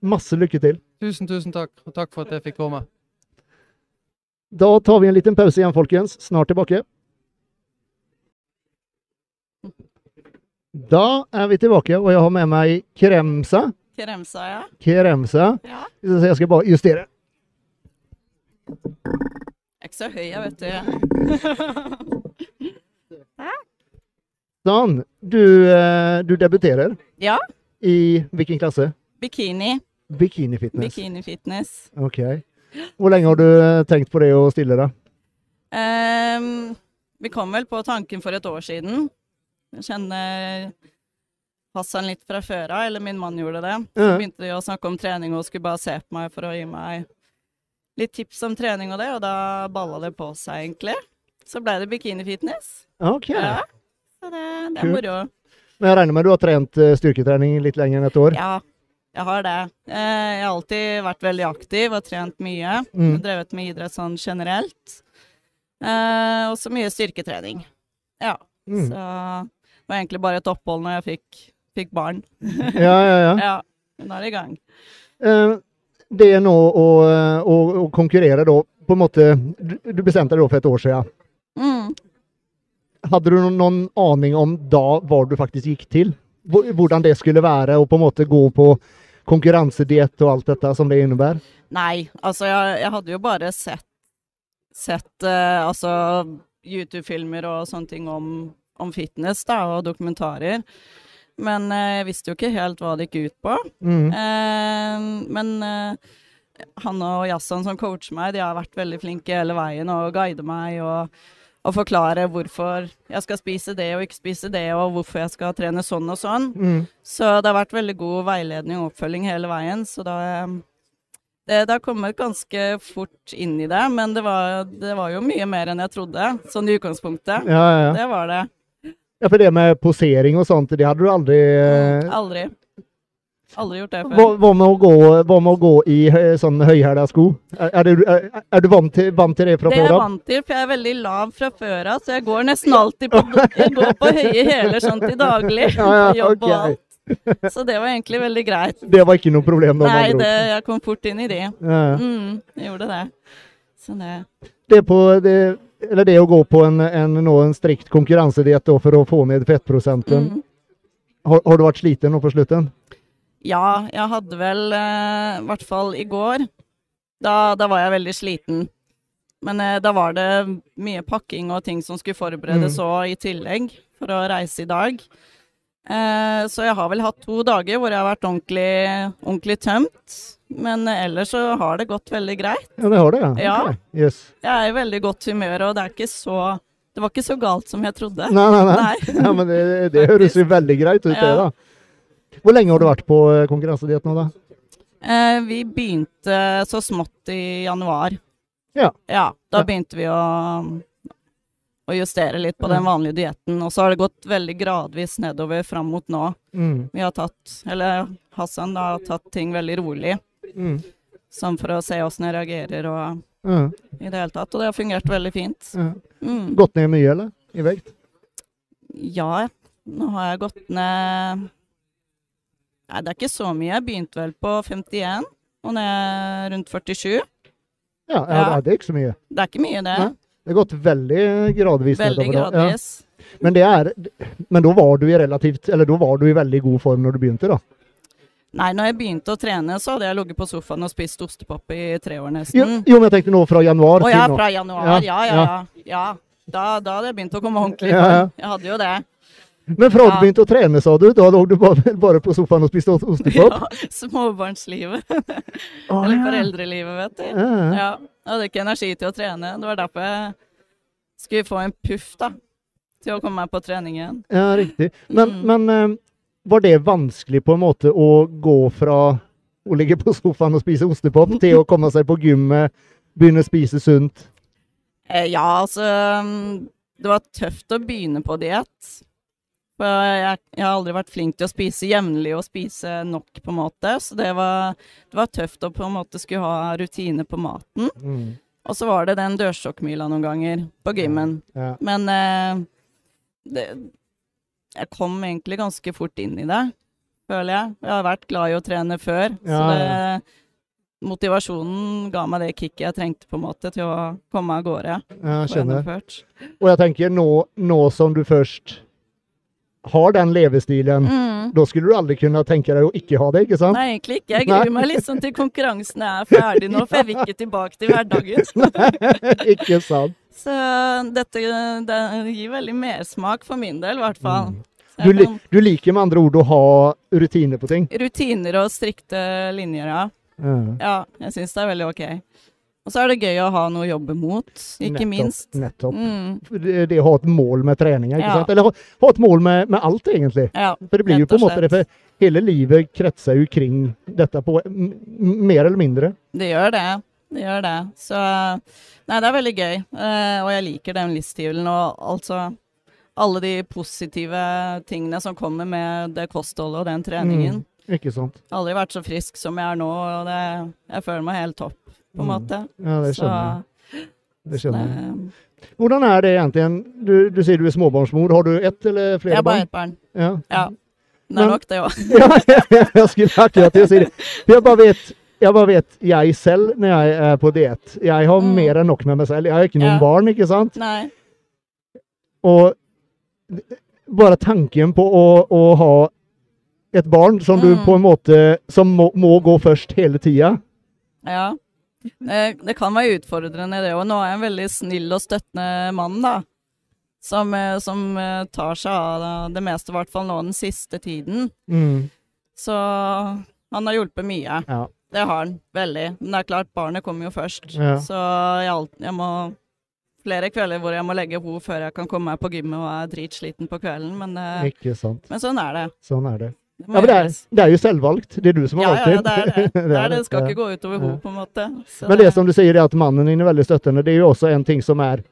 A: Masse lykke til.
C: Tusen, tusen takk, og takk for at jeg fikk komme.
A: Da tar vi en liten pause igjen, folkens. Snart tilbake. Da er vi tilbake, og jeg har med meg Kremsa.
D: Kremsa, ja.
A: Kremsa.
D: ja.
A: Skal vi se, Jeg skal bare justere.
D: Jeg er ikke så høy, jeg, vet du.
A: Sånn. Du, eh, du debuterer
D: Ja.
A: i hvilken klasse?
D: Bikini.
A: Bikini fitness.
D: Bikini fitness.
A: Ok. Hvor lenge har du eh, tenkt på det å stille, da?
D: Ehm, vi kom vel på tanken for et år siden. Jeg kjenner Hassan litt fra før av, eller min mann gjorde det. Så
A: Ja.
D: begynte de å snakke om trening og skulle bare se på meg for å gi meg litt tips om trening og det, og da balla det på seg, egentlig. Så ble det bikini fitness.
A: Ok.
D: Ja. Så det, det er
A: Kult.
D: moro.
A: Men jeg regner med du har trent eh, styrketrening litt lenger enn et år?
D: Ja, jeg har det. Eh, Jeg har alltid vært veldig aktiv og trent mye.
A: Mm.
D: Drevet med idrett sånn generelt. Eh, Og så mye styrketrening. Ja,
A: Mm.
D: så det var egentlig bare et opphold når jeg fikk, fikk barn.
A: Ja, ja, ja.
D: Ja, nå er det i gang.
A: Eh, det er nå å, eh, å, å konkurrere da, på en måte Du du bestemte deg da for et år siden.
D: Mm.
A: Hadde du noen, noen aning om da hva du faktisk gikk til? Hvor- Hvordan det skulle være å på en måte gå på konkurransediett og alt dette som det innebærer?
D: Nei, altså jeg, jeg hadde jo bare sett, sett eh, altså YouTube-filmer og sånne ting om, om fitness da, og dokumentarer. Men eh, jeg visste jo ikke helt hva det gikk ut på.
A: Mm.
D: Eh, men eh, han og Jasson som coacher meg, de har vært veldig flinke hele veien og guider meg og, og forklarer hvorfor jeg skal spise det og ikke spise det, og hvorfor jeg skal trene sånn og sånn.
A: Mm.
D: Så det har vært veldig god veiledning og oppfølging hele veien, så da eh, Det, det har kommet ganske fort inn i det, men det var, det var jo mye mer enn jeg trodde, sånn i utgangspunktet.
A: Ja, ja, ja.
D: Det var det.
A: ja, for det med posering og sånt, det hadde du aldri eh,
D: Aldri. Aldri gjort det før.
A: hva, hva, med å gå, hva med å gå i eh, sånn høyhæla sko? Er, er, du, er, er du vant til, vant til det fra
D: Det er
A: før
D: jeg
A: av?
D: vant til, for jeg er veldig lav fra før av, så jeg går nesten alltid på, jeg går på høye hæler sånn til daglig.
A: Ja, ja,
D: på jobb og
A: ok.
D: alt. Så det var egentlig veldig greit.
A: Det var ikke noe problem da? med
D: Nei,
A: andre ord.
D: det, jeg kom fort inn i de.
A: Ja, ja.
D: Mm, jeg gjorde det. Sånn Så det.
A: det, på, det, eller det å gå på en, en, nå en strikt konkurransediett da for å få ned fettprosenten.
D: Mm.
A: Har, har du vært sliten nå på slutten?
D: Ja, jeg hadde vel, eh, i hvert fall i går, da, da var jeg veldig sliten. Men eh, da var det mye pakking og ting som skulle forberedes
A: Mm.
D: òg i tillegg for å reise i dag. Eh, så jeg har vel hatt to dager hvor jeg har vært ordentlig, ordentlig tømt. Men eh, ellers så har det gått veldig greit.
A: Ja, det har det? ja.
D: Ja.
A: Ok, Yes.
D: Jeg er i veldig godt humør, og det er ikke så Det var ikke så galt som jeg trodde.
A: Nei, nei, nei.
D: Nei.
A: Ja, men det, det høres jo veldig greit ut, det,
D: Ja.
A: da. Hvor lenge har du vært på eh, konkurransediett nå, da?
D: Eh, vi begynte så smått i januar.
A: Ja.
D: da
A: Ja.
D: begynte vi å, å justere litt på
A: Mm.
D: den vanlige dietten. Og så har det gått veldig gradvis nedover fram mot nå.
A: Mm.
D: Vi har tatt, eller Hassan da, har tatt ting veldig rolig,
A: Mm.
D: sånn for å se åssen jeg reagerer og
A: Ja,
D: i det hele tatt. Og det har fungert veldig fint.
A: ja.
D: Mm.
A: Gått ned mye, eller? I vekt?
D: Ja, nå har jeg gått ned Nei, det er ikke så mye. Jeg begynte vel på 51, og ned rundt 47.
A: Ja, ja.
D: Ja.
A: ja, det er ikke så mye.
D: Det er ikke mye, det.
A: Nei. Det har gått veldig gradvis.
D: Veldig
A: nedover, da.
D: gradvis.
A: Ja. Men, det er, men da var du i relativt Eller da var du i veldig god form når du begynte, da.
D: Nei, når jeg begynte å trene, så hadde jeg ligget på sofaen og spist ostepop i tre år
A: Jo,
D: nesten.
A: jo, men jeg tenkte nå fra januar
D: Mm. Å ja,
A: til nå.
D: fra januar. Ja,
A: Ja,
D: ja, ja. ja. Da, da hadde jeg begynt å komme ordentlig i
A: Ja, ja.
D: form. Jeg hadde jo det.
A: Men fra du
D: Ja.
A: begynte å trene, sa du, da lå du bare, bare på sofaen og spiste ost- ostepop?
D: Ja, småbarnslivet.
A: Å,
D: Eller
A: ja.
D: foreldrelivet, vet du.
A: Ja, ja.
D: Ja. Jeg hadde ikke energi til å trene. Det var derfor jeg skulle få en puff, da. Til å komme meg på trening igjen.
A: ja, riktig. Men,
D: Mm.
A: men eh, var det vanskelig på en måte å gå fra å ligge på sofaen og spise ostepop til å komme seg på gymmet, begynne å spise sunt?
D: Eh, ja, altså mm, Det var tøft å begynne på diett. For jeg, jeg har aldri vært flink til å spise jevnlig og spise nok, på en måte. Så det var, det var tøft å på en måte skulle ha rutine på maten.
A: Mm.
D: Og så var det den dørstokkmila noen ganger på gymmen.
A: Ja.
D: Men eh, det, jeg kom egentlig ganske fort inn i det, føler jeg. Jeg har vært glad i å trene før, så
A: Ja,
D: det,
A: ja.
D: motivasjonen ga meg det kicket jeg trengte på en måte til å komme av gårde.
A: Ja,
D: og
A: Jeg skjønner.
D: gjennomført.
A: Og jeg tenker nå, nå som du først har den levestilen,
D: Mm.
A: da skulle du aldri kunne tenke deg å ikke ha det, ikke sant?
D: Nei, egentlig ikke. Jeg
A: Nei.
D: gruer meg litt sånn til konkurransen er ferdig nå, for jeg vil ikke tilbake til hverdagen.
A: ikke sant?
D: Så dette det gir veldig mersmak for min del, i hvert fall. Så
A: Mm. Du,
D: jeg
A: li
D: kan-
A: du liker med andre ord å ha rutiner på ting?
D: Rutiner og strikte linjer, ja.
A: Ja.
D: Ja, jeg syns det er veldig ok. Og så er det gøy å ha noe å jobbe mot, ikke
A: Nettopp,
D: minst.
A: Nettopp.
D: Mm,
A: Det, det å ha et mål med treninga, ikke
D: Ja.
A: sant? Eller ha, ha et mål med, med alt, egentlig.
D: ja,
A: For det blir jo
D: rett
A: på
D: og
A: en måte det,
D: slett.
A: for hele livet kretser jo kring dette, på, m- m- mer eller mindre.
D: Det gjør det. Det gjør det. Så Nei, det er veldig gøy. Eh, og jeg liker den livsstilen og altså alle de positive tingene som kommer med det kostholdet og
A: Mm.
D: den treningen.
A: Ikke sant?
D: Aldri vært så frisk som jeg er nå, og det, jeg føler meg helt topp, på en
A: Mm,
D: måte.
A: Ja, det
D: Så,
A: skjønner jeg. Det skjønner jeg.
D: nei,
A: Hvordan er det egentlig? Du, du sier du er småbarnsmor. Har du ett eller
D: jeg
A: flere
D: er bare
A: barn?
D: ett barn.
A: Ja.
D: Ja. Det
A: Men-
D: er nok det òg.
A: ja, jeg, jeg skulle akkurat til å si det. For jeg bare vet jeg bare vet jeg selv når jeg er på diett. Jeg har
D: Mm.
A: mer enn nok med meg selv. Jeg har ikke noen
D: Ja.
A: barn, ikke sant?
D: Nei.
A: Og bare tanken på å, å ha et barn som du
D: Mm.
A: på en måte som må, må gå først hele tida.
D: Ja. Det, det kan være utfordrende, det òg. Nå er jeg en veldig snill og støttende mann, da. Som, eh, som eh, tar seg av det meste, i hvert fall nå den siste tiden.
A: Mm.
D: Så han har hjulpet mye.
A: Ja.
D: Det har han. Veldig. Men det er klart, barnet kommer jo først.
A: Ja.
D: Så jeg, alt- jeg må Flere kvelder hvor jeg må legge henne før jeg kan komme meg på gymmet og er dritsliten på kvelden, men, eh,
A: Ikke sant.
D: men sånn er det.
A: Sånn er det.
D: Det må
A: Ja, men det, er,
D: gjøres.
A: det er jo selvvalgt. Det er du som har
D: ja,
A: valgt
D: ja, det er det. det, er det. det skal
A: ja.
D: ikke gå utover
A: Ja.
D: henne, på en måte. Så
A: Men det som du sier, er at mannen din er veldig støttende. Det er jo også en ting som er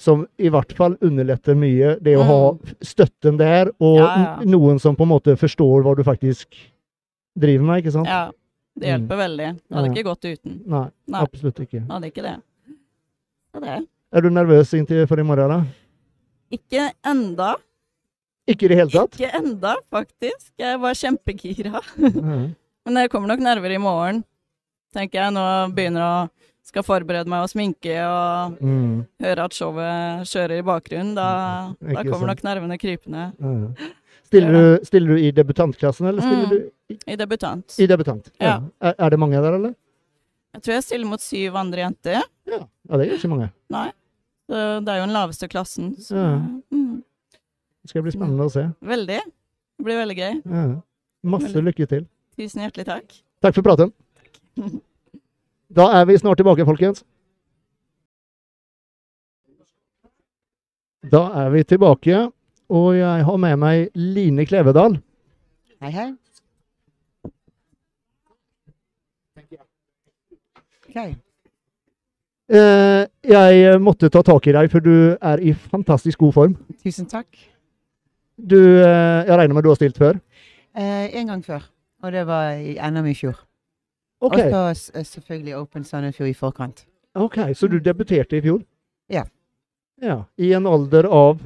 A: Som i hvert fall underletter mye. Det å
D: Mm.
A: ha støtten der, og
D: Ja, ja.
A: n- noen som på en måte forstår hva du faktisk driver med, ikke sant?
D: Ja, det hjelper veldig. Det
A: Sånn.
D: hadde
A: Mm. Ja.
D: ikke gått uten.
A: Nei,
D: Nei.
A: absolutt ikke.
D: Det hadde ikke det. Så det.
A: Er du nervøs inntil for i morgen, da?
D: Ikke enda.
A: Ikke i det hele tatt?
D: Ikke enda, faktisk. Jeg var kjempegira.
A: Nei.
D: Men det kommer nok nerver i morgen, tenker jeg. Nå begynner jeg å skal forberede meg å sminke og
A: Mm.
D: høre at showet kjører i bakgrunnen. Da, da
A: Ikke
D: kommer
A: sant.
D: nok nervene krypende.
A: Ja. mm. Stiller, du, stiller du i debutantklassen, eller stiller
D: Mm.
A: du i-
D: I debutant.
A: i debutant?
D: Ja.
A: Er, er det mange der, eller?
D: Jeg tror jeg stiller mot syv andre jenter.
A: Ja, ja det er ikke mange.
D: Så det er jo den laveste klassen. Så,
A: Ja.
D: mm,
A: Det skal bli spennende å se.
D: veldig. Det blir veldig gøy.
A: Ja. Masse
D: Veldig.
A: lykke til.
D: Tusen hjertelig takk.
A: Takk for praten. Da er vi snart tilbake, folkens. Da er vi tilbake, og jeg har med meg Line Klevedal.
E: Hei, hei. Ok.
A: Eh, Jeg måtte ta tak i deg, for du er i fantastisk god form.
E: Tusen takk.
A: Du, eh, jeg regner med du har stilt før?
E: Eh, en gang før, og det var i NM i fjor.
A: Ok,
E: Og så s- eh, selvfølgelig Open Sandefjord i forkant.
A: ok, så du debuterte i fjor?
E: Mm. Ja.
A: Ja, I en alder av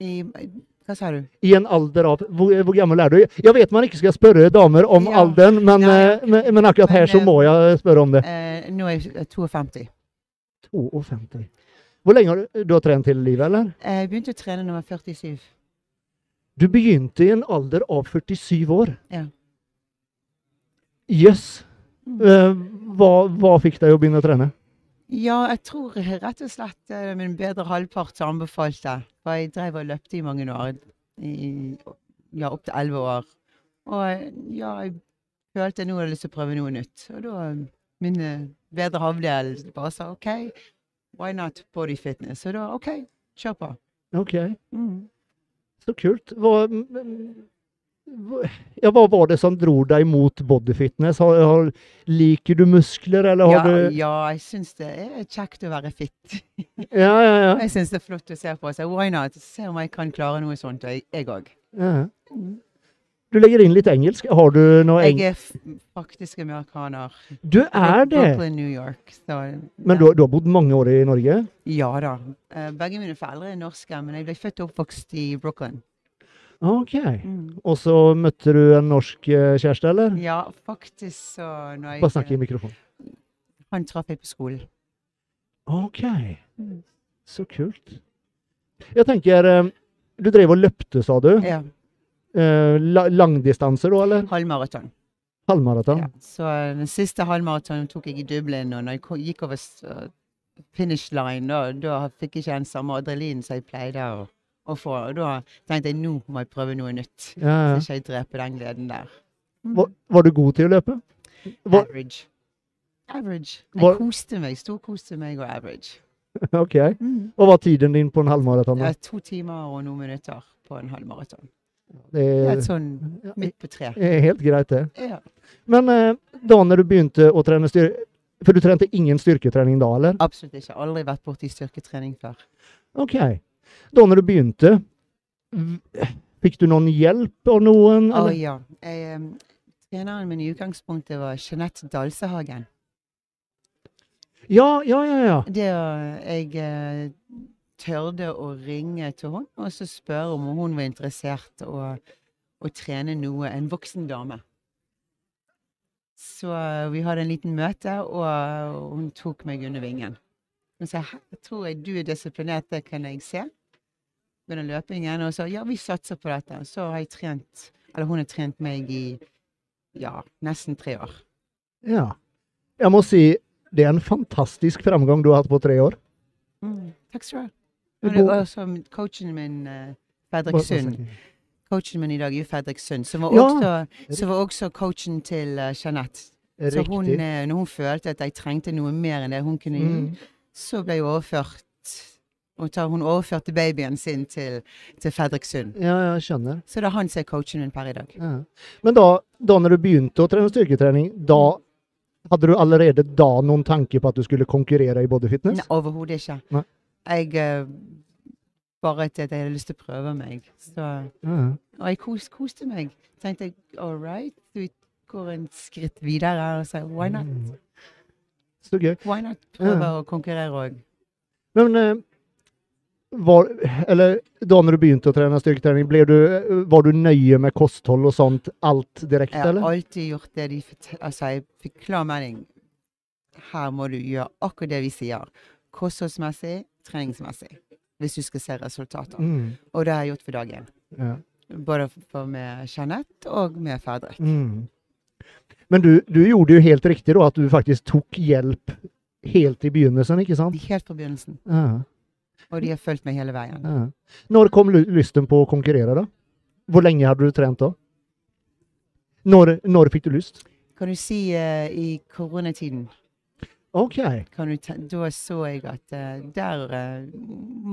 E: I, hva sa du?
A: i en alder av Hvor, hvor gammel er du? Jeg vet man ikke skal spørre damer om
E: Ja.
A: alderen, men,
E: Ja, ja.
A: eh, men, men akkurat her
E: Men,
A: så
E: eh,
A: må jeg spørre om det.
E: Eh, nå er jeg 52.
A: 52. Hvor lenge har du, du har trent hele livet, eller?
E: Eh, Jeg begynte å trene når jeg var 47.
A: Du begynte i en alder av 47 år.
E: Ja. Mm.
A: Jøss. Eh, hva, hva fikk deg å begynne å trene?
E: Ja, jeg tror rett og slett eh, min bedre halvpart som anbefalte. For jeg drev og løpte i mange år. I, ja, opp til 11 år. Og ja, jeg følte nå hadde jeg lyst til å prøve noe nytt. Og da eh, min eh, bedre halvdel bare sa OK, why not body fitness? Og da OK, kjør på.
A: Ok,
E: Mm.
A: så kult. Hva, m- m- hva- ja, hva var det som dro deg mot bodyfitness? Har, har, liker du muskler, eller
E: Ja,
A: har du
E: ja, jeg syns det er kjekt å være fit.
A: Ja, ja, ja.
E: Jeg syns det er flott å se på. Så why not? Se om jeg kan klare noe sånt, og jeg òg.
A: Ja. Du legger inn litt engelsk. Har du noe engelsk?
E: Jeg er f- faktisk amerikaner.
A: Du er det!
E: Brooklyn, New York. Så,
A: Men du,
E: ja.
A: har- du har bodd mange år i Norge?
E: Ja da. Eh, Begge mine foreldre er norske, men jeg ble født og oppvokst i Brooklyn.
A: Ok. Og så møtte du en norsk eh, kjæreste, eller?
E: Ja, faktisk så når
A: Bare snakk i
E: jeg,
A: mikrofonen.
E: Han traff jeg på skolen.
A: Ok.
E: Mm.
A: Så kult. Jeg tenker eh, Du drev og løpte, sa du.
E: Ja,
A: Eh, la- Langdistanse, da, eller?
E: Halvmaraton.
A: Halvmaraton?
E: Ja. Så eh, den siste halvmaratonen tok jeg i Dublin, og når jeg ko- gikk over s- eh, finish line, da, da fikk jeg ikke den samme adrenalin som jeg pleide å, å få. Og da tenkte jeg nå må jeg prøve noe nytt.
A: Ja,
E: Så
A: ja.
E: ikke jeg dreper den gleden der. Mm.
A: Var, var du god til å løpe? Hva-
E: Average. Average.
A: Hva-
E: Jeg koste meg. Storkoste meg og average.
A: Ok. Og var tiden din på en halvmaraton? da?
E: Det er to timer og noen minutter på en halv maraton.
A: Det
E: Det er
A: er
E: et sånn
A: ja,
E: midt på tre.
A: er helt greit, det.
E: Ja.
A: Men eh, da når du begynte å trene styrke For du trente ingen styrketrening da, eller?
E: Absolutt ikke. Aldri vært borti styrketrening før.
A: Ok. Da når du begynte, v- fikk du noen hjelp av noen?
E: Å
A: Eller?
E: ja. Jeg, em, treneren min i utgangspunktet var Jeanette Dalsehagen.
A: Ja, ja, ja. ja.
E: Det å- jeg eh, tørde å ringe til henne og så spørre om hun var interessert å, å trene noe, en voksen dame. Så eh, vi hadde en liten møte, og hun tok meg under vingen. Hun sa «Hæ, jeg tror jeg du er disiplinert, det kan jeg se. Under løpingen. Og sa ja, vi satser på dette. Så har jeg trent, eller hun har trent meg i ja, nesten tre år.
A: ja. Jeg må si det er en fantastisk framgang du har hatt på tre år.
E: Takk skal du ha.
A: Du
E: Og Mm. det
A: går-
E: var også coachen min, eh, Fredrik
A: Bare-
E: Sund. Coachen min i dag er jo Fredrik Sund, som var,
A: Ja.
E: også, som var også coachen til eh, Jeanette. Så hun,
A: Riktig.
E: eh, når hun følte at jeg trengte noe mer enn det hun kunne gi,
A: Mm.
E: så ble jeg overført Og tar, hun overførte babyen sin til, til Fredriksund.
A: Ja, jeg skjønner.
E: Så det er han som er coachen min per i dag.
A: Ja. Men da, da når du begynte å trene styrketrening, da hadde du allerede da noen tanke på at du skulle konkurrere i bodyfitness?
E: Nei, overhodet ikke.
A: Nei.
E: Jeg eh, bare at jeg hadde lyst til å prøve meg. Så,
A: Ja.
E: og jeg kos, koste meg. Tenkte jeg all right, vi går en skritt videre. Og så why not?
A: Mm. Så gøy.
E: Why not prøve å konkurrere òg?
A: Men eh, var, eller, da når du begynte å trene styrketrening, ble du, var du nøye med kosthold og sånt alt direkte,
E: Jeg har
A: eller?
E: alltid gjort det de forteller Altså, jeg fikk klar melding. Her må du gjøre akkurat det vi sier. Kostholdsmessig, treningsmessig. Hvis du skal se resultater.
A: Mm.
E: Og det har jeg gjort for dagen.
A: Ja.
E: Både for med Jeanette og med Fredrik.
A: Mm. Men du, du gjorde jo helt riktig da, at du faktisk tok hjelp helt i begynnelsen, ikke sant?
E: Helt fra begynnelsen.
A: Ja,
E: Og de har fulgt meg hele veien.
A: ja. Når kom lu- lysten på å konkurrere, da? Hvor lenge hadde du trent da? Når, når fikk du lyst?
E: Kan du si eh, i koronatiden
A: OK.
E: kan du ta, Da så jeg at eh, der eh,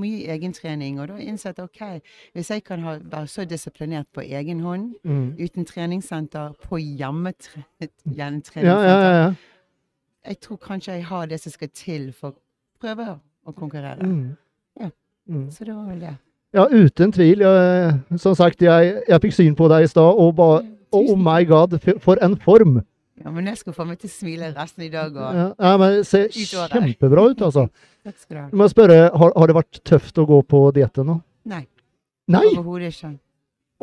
E: Mye egentrening. Og da innså jeg at OK, hvis jeg kan ha, være så disiplinert på egen hånd
A: Mm.
E: uten treningssenter på hjemmetre- hjemmetreningssenter.
A: Ja, ja, ja. ja.
E: Jeg tror kanskje jeg har det som skal til for å prøve å konkurrere.
A: Mm.
E: Ja.
A: Mm.
E: Så det var vel det.
A: Ja, uten tvil. Jeg, som sagt, jeg, jeg fikk syn på deg i stad, og bare Oh
E: Mm, Tusen-
A: my god, f- for en form!
E: Ja, men jeg skal få meg til å smile resten i dag òg.
A: Ja, ja, men det ser
E: Utover.
A: kjempebra ut, altså.
E: Takk skal du ha.
A: Jeg må spørre, har, har det vært tøft å gå på dietten nå?
E: Nei,
A: Nei!
E: overhodet ikke.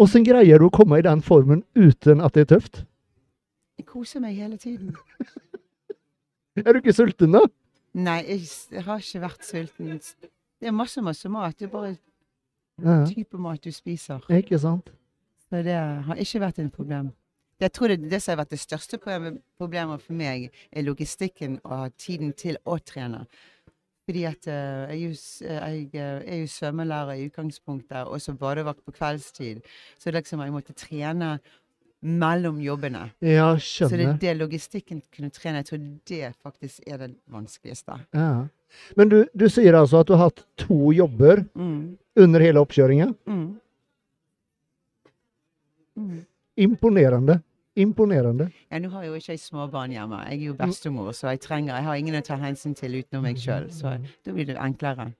A: Åssen greier du å komme i den formen uten at det er tøft?
E: Jeg koser meg hele tiden.
A: Er du ikke sulten, da?
E: Nei, jeg, s- jeg har ikke vært sulten. Det er masse, masse mat. Det er bare
A: Ja,
E: type mat du spiser.
A: ikke sant?
E: Så det har ikke vært et problem. Jeg tror det, det som har vært det største problemet, problemet for meg, er logistikken og å ha tiden til å trene. Fordi at eh, jeg, er jo s- eh, jeg eh, er jo svømmelærer i utgangspunktet, og så badevakt på kveldstid. Så liksom jeg måtte trene mellom jobbene.
A: Ja,
E: Så det
A: skjønner.
E: er det logistikken kunne trene. Jeg tror det faktisk er det vanskeligste.
A: Ja. Men du, du sier altså at du har hatt to jobber
E: Mm.
A: under hele oppkjøringen?
E: Mm. Mm.
A: Imponerende. Imponerende.
E: Ja, nå har jo ikke jeg småbarn hjemme. Jeg er jo bestemor, så jeg trenger Jeg har ingen å ta hensyn til utenom meg sjøl, så da blir det enklere.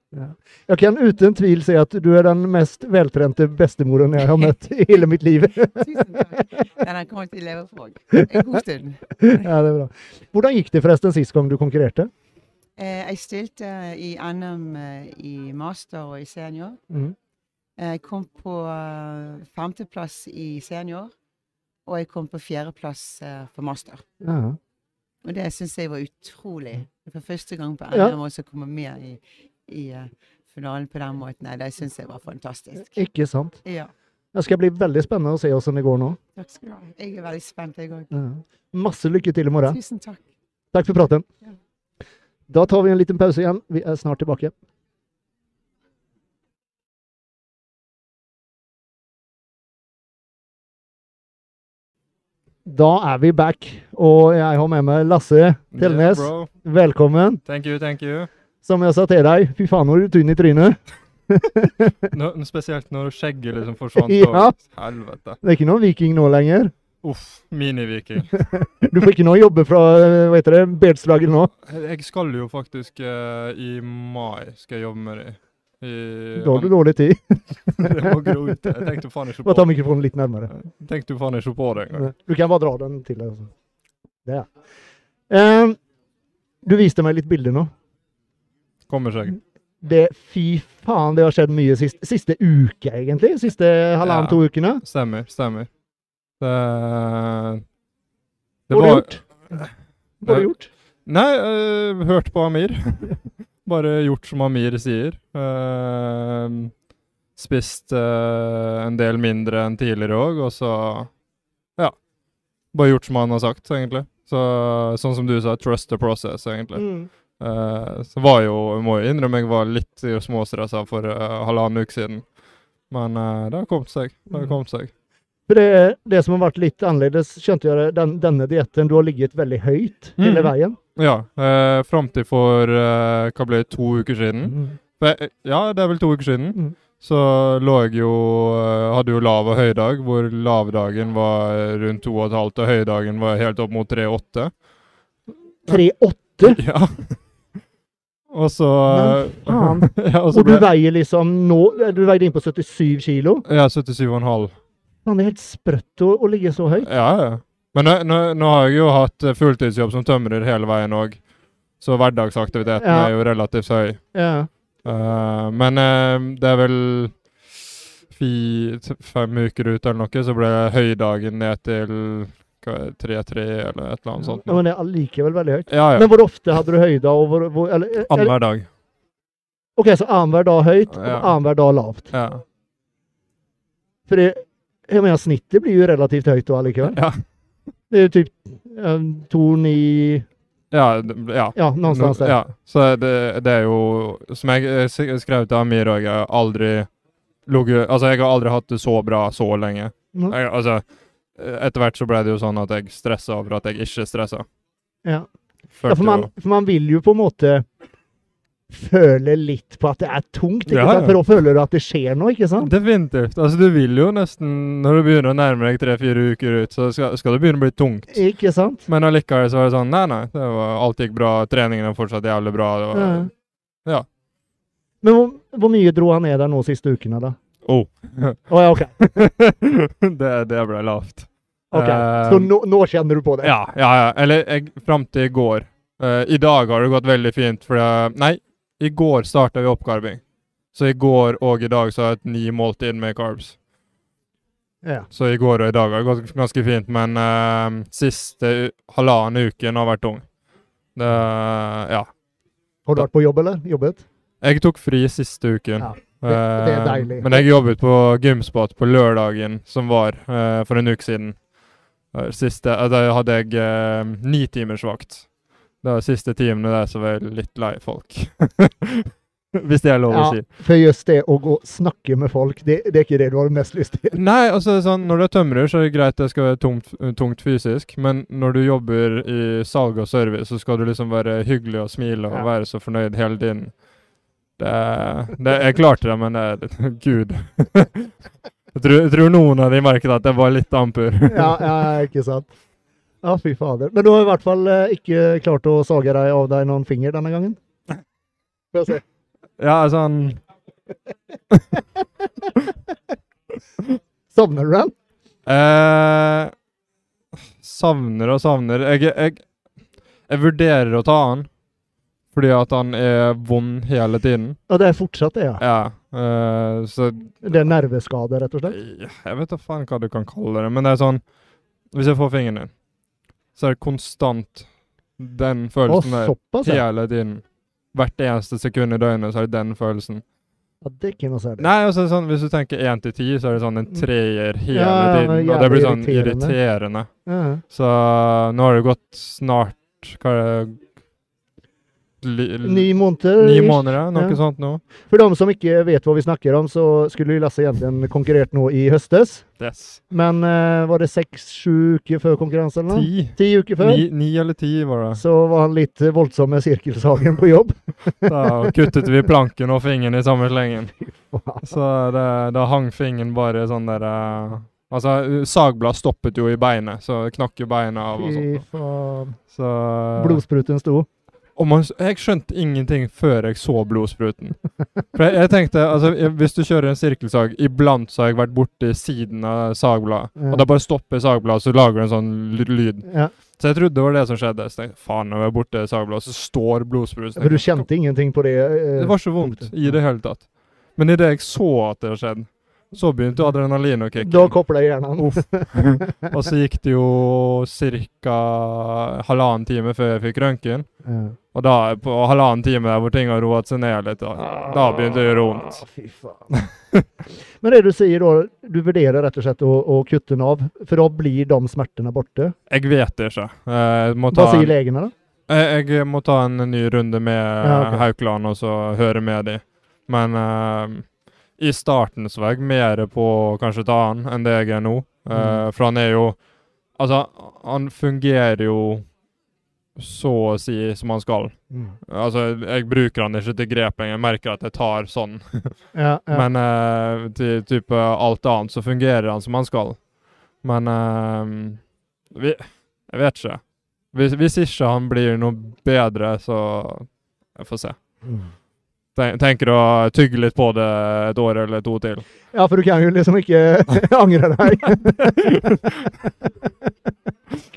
A: Jeg kan uten tvil si at du er den mest veltrente bestemoren jeg har møtt i hele mitt liv.
E: Tusen takk. Den her kommer jeg til å leve på en god stund.
A: Ja, det er bra. Hvordan gikk det forresten sist gang du konkurrerte?
E: Eh, Jeg stilte i NM eh, i master og i senior.
A: Mhm.
E: Eh, Jeg kom på eh, femteplass i senior, og jeg kom på fjerdeplass eh, for master.
A: Ja.
E: Og det syns jeg var utrolig. For første gang på
A: Mhm. Ja.
E: NM også å komme med i, i eh, finalen på den måten. Nei, Det syns jeg var fantastisk.
A: Ikke sant?
E: Ja.
A: Det skal bli veldig spennende å se hvordan det går nå.
E: Takk skal du ha. Jeg er veldig spent, jeg òg.
A: Ja. Masse lykke til i morgen.
E: Tusen takk.
A: Takk for praten.
E: Ja.
A: Da tar vi en liten pause igjen. Vi er snart tilbake. Da er vi back, og jeg har med meg Lasse
F: Yeah,
A: Telnes.
F: bro.
A: Velkommen.
F: Thank you, thank you.
A: Som jeg sa til deg, fy faen, hvor er du tynn i trynet.
F: Nå, nå spesielt når skjegget liksom forsvant.
A: Ja.
F: og- Helvete.
A: Det er ikke noen viking nå lenger.
F: Uff, miniviking.
A: Du får ikke noe jobbe fra eh, hva heter det, Bedslaget nå.
F: Jeg skal jo faktisk eh, i mai skal jeg jobbe med det. I,
A: Da har du dårlig tid.
F: det må gro ut. Jeg tenkte faen ikke
A: Bare ta
F: på,
A: mikrofonen litt nærmere.
F: tenkte faen ikke på det engang.
A: Mm. Du kan bare dra den til deg. altså. Der. Eh, du viste meg litt bilder nå.
F: Kommer seg.
A: Det, fy faen, det har skjedd mye sist, siste uke, egentlig. Siste halvannen,
F: Ja.
A: to ukene.
F: Stemmer, stemmer. Det, det
A: Både
F: var
A: gjort. Både gjort.
F: Nei, eh, hørt på Amir. Bare gjort som Amir sier. Eh, spist eh, en del mindre enn tidligere òg, og så Ja. Bare gjort som han har sagt, egentlig. Så, sånn som du sa, trust the process, egentlig.
A: Mm.
F: Eh, så var jo, jeg må jo innrømme, jeg var litt småstressa for eh, halvannen uke siden. Men eh, det har kommet seg. Det har kommet seg.
A: For det, det som har vært litt annerledes, skjønte jeg, det, den, denne dietten, du har ligget veldig høyt hele
F: Mm.
A: veien.
F: eh, Ja. Uh, Fram til for eh, hva ble det, to uker siden. For jeg, ja, det er vel to uker siden.
A: Mm.
F: Så lå jeg jo eh, Hadde jo lav og høydag, hvor lavdagen var eh, rundt 2,5 og høydagen var helt opp mot 3,8.
A: 3,8,
F: Ja. Og så eh,
A: Men
F: ja, og så
A: og du
F: ble
A: veier liksom nå Du veide inn på 77 kilo.
F: Ja, 77,5.
A: Faen, det er helt sprøtt å, å ligge så høyt.
F: Ja, ja. Men nå, nå, nå har jeg jo hatt eh, fulltidsjobb som tømrer hele veien òg, så hverdagsaktiviteten
A: Ja.
F: er jo relativt høy.
A: Ja.
F: Eh, men eh, det er vel fi, t- fem uker ut eller noe, så ble høydagen ned til hva er det, 3-3 eller et eller annet sånt.
A: Ja, men det er allikevel veldig høyt.
F: Ja, ja.
A: Men hvor ofte hadde du høyda? Og hvor, hvor, eller, eller-
F: Annenhver dag.
A: OK, så annenhver dag høyt, og
F: Ja.
A: annenhver dag lavt.
F: Ja.
A: For det, jeg mener, snittet blir jo relativt høyt da allikevel.
F: Ja.
A: Det er jo typ eh, 2,9
F: Ja, d- ja.
A: Ja, noe sted der.
F: Ja, så det, det er jo Som jeg eh, s- skrev til Amir òg, jeg har aldri ligget Altså, jeg har aldri hatt det så bra så lenge.
A: Nei.
F: Jeg, altså, eh, etter hvert så ble det jo sånn at jeg stressa over at jeg ikke stressa.
A: Ja.
F: Følte
A: Ja, for, man,
F: jo-
A: for man vil jo på en måte føle litt på at det er tungt, ikke
F: Ja,
A: sant?
F: ja.
A: for da føler du at det skjer noe, ikke sant?
F: Definitivt. Altså, du vil jo nesten Når du begynner å nærme deg tre-fire uker ut, så skal, skal det begynne å bli tungt.
A: Ikke sant?
F: Men allikevel så var det sånn Nei, nei. Det var, alt gikk bra. Treningen er fortsatt jævlig bra. Det var,
A: Ja.
F: ja.
A: Men hvor, hvor mye dro han ned der nå siste ukene, da?
F: Oh.
A: Å ja, OK.
F: det, det ble lavt.
A: ok.
F: Eh,
A: Så nå, nå kjenner du på det?
F: Ja, ja, ja. Eller jeg, fram til i går. Eh, I dag har det gått veldig fint, for jeg, Nei, i går starta vi oppkarving. Så i går og i dag så har jeg hatt ni måltid med carbs.
A: Ja.
F: Så i går og i dag har det gått ganske fint, men eh, siste u- halvannen uken har vært tung. Det, ja.
A: Har du vært på jobb, eller? Jobbet?
F: Jeg tok fri siste uken.
A: Ja, det- det er
F: Eh,
A: deilig.
F: Men jeg jobbet på Gymspot på lørdagen som var eh, for en uke siden. Eh, Siste, eh, da hadde jeg eh, ni timers vakt. Det var siste timene der som var jeg litt lei folk. Hvis det er lov
A: Ja.
F: å si.
A: For just det å gå og snakke med folk, det, det er ikke det du har mest lyst til.
F: Nei, altså det er sånn, når du er tømrer, så er det greit det skal være tungt, eh, tungt fysisk, men når du jobber i salg og service, så skal du liksom være hyggelig og smile og
A: Ja.
F: være så fornøyd hele tiden. Det, det, jeg klarte det, men det, gud. jeg, tror, jeg tror noen av de merket at jeg var litt amper.
A: Ja, ja ikke sant? Ja, fy fader. Men du har i hvert fall eh, ikke klart å sage deg av deg noen finger denne gangen? Får jeg se.
F: ja, sånn,
A: Savner du den?
F: eh, savner og savner. Jeg, jeg, jeg vurderer å ta han, fordi at han er vond hele tiden.
A: Ja, det er fortsatt det, ja.
F: Ja, eh, så
A: Det er nerveskade, rett og slett?
F: Ja, Eh, Jeg vet da faen hva du kan kalle det, men det er sånn Hvis jeg får fingeren din, så er det konstant den
A: Å,
F: følelsen der.
A: såpass, ja.
F: Hele tiden. Hvert eneste sekund i døgnet så er det den følelsen.
A: ja. Det er ikke noe særlig.
F: Nei, og så er det sånn, hvis du tenker én til ti, så er det sånn en treer
A: Mm.
F: hele
A: Ja, ja, men
F: tiden. Og det blir
A: jævlig
F: sånn
A: irriterende.
F: irriterende.
A: Ja.
F: Så nå har det gått snart Hva er det li,
A: Ni måneder?
F: ni
A: ish.
F: måneder? Noe
A: ja.
F: sånt nå?
A: For de som ikke vet hva vi snakker om, så skulle jo Lasse egentlig konkurrert nå i høstes.
F: Yes.
A: Men eh, var det seks-sju uker før konkurransen? eller noe?
F: Ti?
A: Ti uker før?
F: Ni, ni eller ti, var det.
A: Så var han litt eh, voldsom med sirkelsagen på jobb.
F: Da kuttet vi planken og fingeren i samme slengen. Så det, da hang fingeren bare sånn der eh, Altså, eh, sagbladet stoppet jo i beinet, så det sånn. knakk jo beina av og
A: Fy
F: sånt.
A: faen.
F: da. Så eh,
A: Blodspruten sto.
F: og man, s- Jeg skjønte ingenting før jeg så blodspruten. For jeg, jeg tenkte altså, jeg- Hvis du kjører en sirkelsag Iblant så har jeg vært borti siden av sagbladet,
A: Ja.
F: og da bare stopper sagbladet, så lager det en sånn ly- lyd.
A: Ja.
F: Så jeg trodde det var det som skjedde. Så tenkte jeg faen, når jeg er borti sagbladet, så står blodspruten. Så
A: For du
F: tenkte jeg,
A: kjente ingenting på det? eh,
F: Det var så vondt
A: punktet.
F: i det hele tatt. Men idet jeg så at det hadde skjedd, så begynte adrenalin å kicke.
A: Mm. Da kopla hjernen.
F: Uff. og så gikk det jo ca. halvannen time før jeg fikk røntgen.
A: Ja.
F: Og da, på halvannen time der hvor ting har roet seg ned litt, da, da begynte det å gjøre vondt.
A: Ah, Fy faen. Men det du sier da, du vurderer rett og slett å, å kutte den av, for da blir de smertene borte?
F: Jeg vet det ikke. Eh, Jeg må ta,
A: Hva sier legene, da?
F: jeg, Eh, jeg må ta en ny runde med eh,
A: Ja, ok.
F: Haukeland og så høre med de. Men eh, i starten så var jeg mer på kanskje ta han enn det jeg er nå. Eh,
A: Mm.
F: For han er jo Altså, han fungerer jo så å si som han skal.
A: Mm.
F: Altså, jeg- jeg bruker han ikke til grep lenger. Jeg merker at jeg tar sånn.
A: Ja, ja.
F: Men eh, til type alt annet så fungerer han som han skal. Men eh, vi, Jeg vet ikke. Hvis, hvis ikke han blir noe bedre, så Jeg får se.
A: Mm.
F: Ten- Tenker å tygge litt på det et år eller to til.
A: ja, for du kan jo liksom ikke angre deg.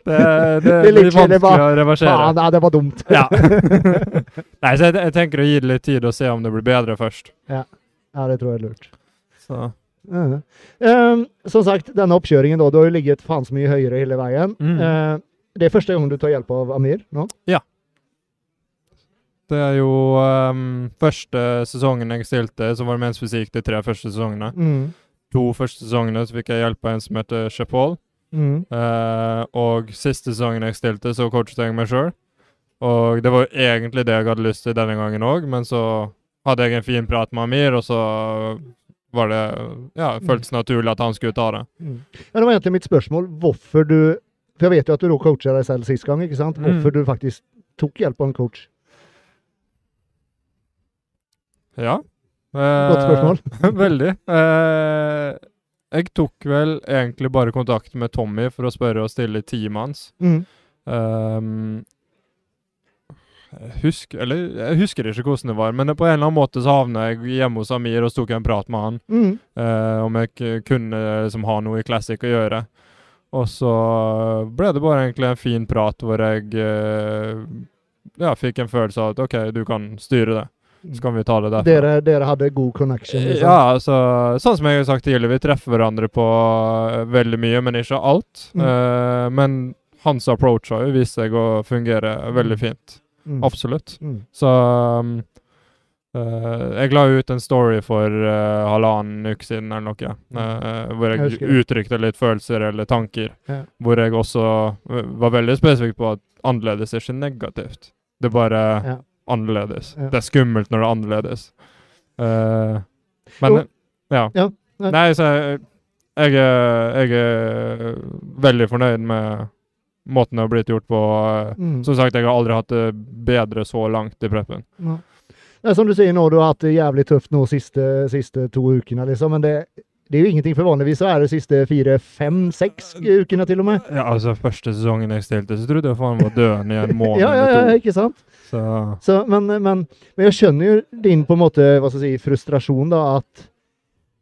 F: Det, det,
A: Det er
F: blir
A: litt- det
F: vanskelig
A: er bare-
F: å reversere.
A: Faen, nei, det var dumt.
F: Ja. Nei, så jeg, jeg tenker å gi det litt tid og se om det blir bedre først.
A: Ja, det tror jeg er lurt.
F: Så.
A: Ja. Ehm, som sagt, denne oppkjøringen da, du har jo ligget faen så mye høyere hele veien.
F: Mm.
A: Eh, det er første gang du tar hjelp av Amir nå?
F: Det er jo ehm, første sesongen jeg stilte, så var det mens fysikk de tre første sesongene.
A: Mm.
F: To første sesongene så fikk jeg hjelp av en som heter Chapol.
A: Mm.
F: Eh, og siste sesongen jeg stilte, så coachet jeg meg sjøl. Og det var jo egentlig det jeg hadde lyst til denne gangen òg, men så hadde jeg en fin prat med Amir, og så var det Ja,
A: Mm.
F: føltes naturlig at han skulle ta det.
A: Ja, det var egentlig mitt spørsmål. Hvorfor du For jeg vet jo at du da coacha deg selv sist gang, ikke sant?
F: Mm.
A: Hvorfor du faktisk tok hjelp av en coach?
F: Ja. Eh,
A: Godt spørsmål.
F: Veldig. Eh, jeg tok vel egentlig bare kontakt med Tommy for å spørre og stille i teamet hans.
A: Mm.
F: Ehm, jeg husker, eller, jeg husker ikke hvordan det var, men på en eller annen måte så havna jeg hjemme hos Amir og så tok jeg en prat med han
A: Mm.
F: eh, om jeg k- kunne eh, liksom, ha noe i Classic å gjøre. Og så ble det bare egentlig en fin prat hvor jeg eh, ja, fikk en følelse av at OK, du kan styre det. Så kan vi ta det derfra.
A: Dere, dere hadde god connection? Liksom.
F: Ja, altså, sånn som jeg har sagt tidligere, vi treffer hverandre på eh, veldig mye, men ikke alt.
A: Mm.
F: Eh, men hans approach har jo vist seg å fungere veldig fint.
A: Mm.
F: Absolutt.
A: Mm.
F: Så um, eh, jeg la ut en story for eh, halvannen uke siden eller noe, eh, hvor
A: Mm.
F: jeg,
A: Jeg husker det.
F: uttrykte litt følelser eller tanker.
A: Ja.
F: Hvor jeg også eh, var veldig spesifikk på at annerledes er ikke negativt. Det er bare
A: Ja.
F: annerledes.
A: Ja.
F: Det er skummelt når det er annerledes. Eh, men
A: Jo.
F: eh, ja.
A: Ja, nei.
F: Nei, så jeg, jeg, er- jeg er veldig fornøyd med måten det har blitt gjort på. eh,
A: Mm.
F: som sagt, jeg har aldri hatt det bedre så langt i preppen.
A: Ja. Ja, som du sier nå, du har hatt det jævlig tøft nå siste, siste to ukene, liksom. Men det, det er jo ingenting, for vanligvis så er det siste fire, fem, seks ukene til og med.
F: Ja, altså, første sesongen jeg stilte, så trodde jeg faen var døende i en måned
A: Ja, ja, ja,
F: eller to.
A: ikke sant?
F: Så
A: Så, men, men, men jeg skjønner jo din på en måte, hva skal jeg si, frustrasjon, da, at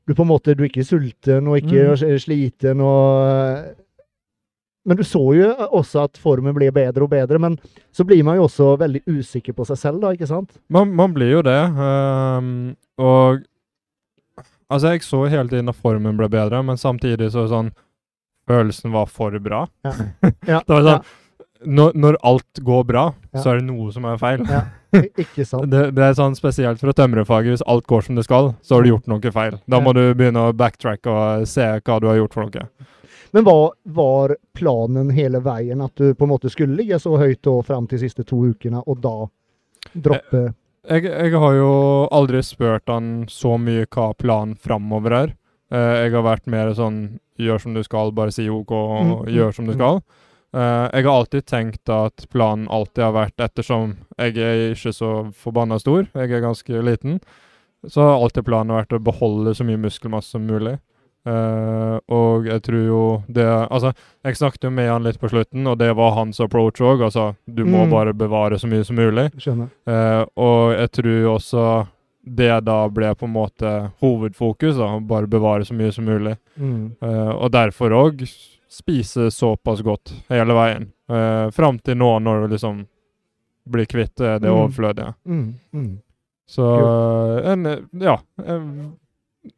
A: du på en måte du er ikke sulten og ikke
F: Mm.
A: er sliten og eh, Men du så jo også at formen ble bedre og bedre, men så blir man jo også veldig usikker på seg selv, da, ikke sant?
F: man, man blir jo det. ehm, og Altså, jeg så hele tiden at formen ble bedre, men samtidig så sånn Følelsen var for bra.
A: Ja,
F: Det var sånn, når, når alt går bra,
A: Ja.
F: så er det noe som er feil.
A: Ja. ja, ikke sant?
F: Det, det er sånn spesielt fra tømrerfaget. Hvis alt går som det skal, så har du gjort noe feil. Da må du begynne å backtrack og se hva du har gjort for noe.
A: Men var, var planen hele veien at du på en måte skulle ligge så høyt da fram til siste to ukene, og da droppe
F: Jeg, jeg har jo aldri spurt han så mye hva planen framover er. Eh, jeg har vært mer sånn gjør som du skal, bare si OK og
A: Mm, mm,
F: gjør som du
A: mm.
F: skal. Eh, jeg har alltid tenkt at planen alltid har vært ettersom jeg er ikke så forbanna stor, jeg er ganske liten, så har alltid planen vært å beholde så mye muskelmasse som mulig. Eh, og jeg tror jo det Altså, jeg snakket jo med han litt på slutten, og det var hans approach òg. Altså, du må
A: Mm.
F: bare bevare så mye som mulig.
A: Skjønner.
F: Eh, og jeg tror også det da ble på en måte hovedfokus, da, å bare bevare så mye som mulig.
A: Mm.
F: Eh, og derfor òg spise såpass godt hele veien. Uh, Fram til nå, når du liksom blir kvitt eh, det
A: Mm.
F: overflødige.
A: Mm. Mm.
F: Så eh, en eh, ja en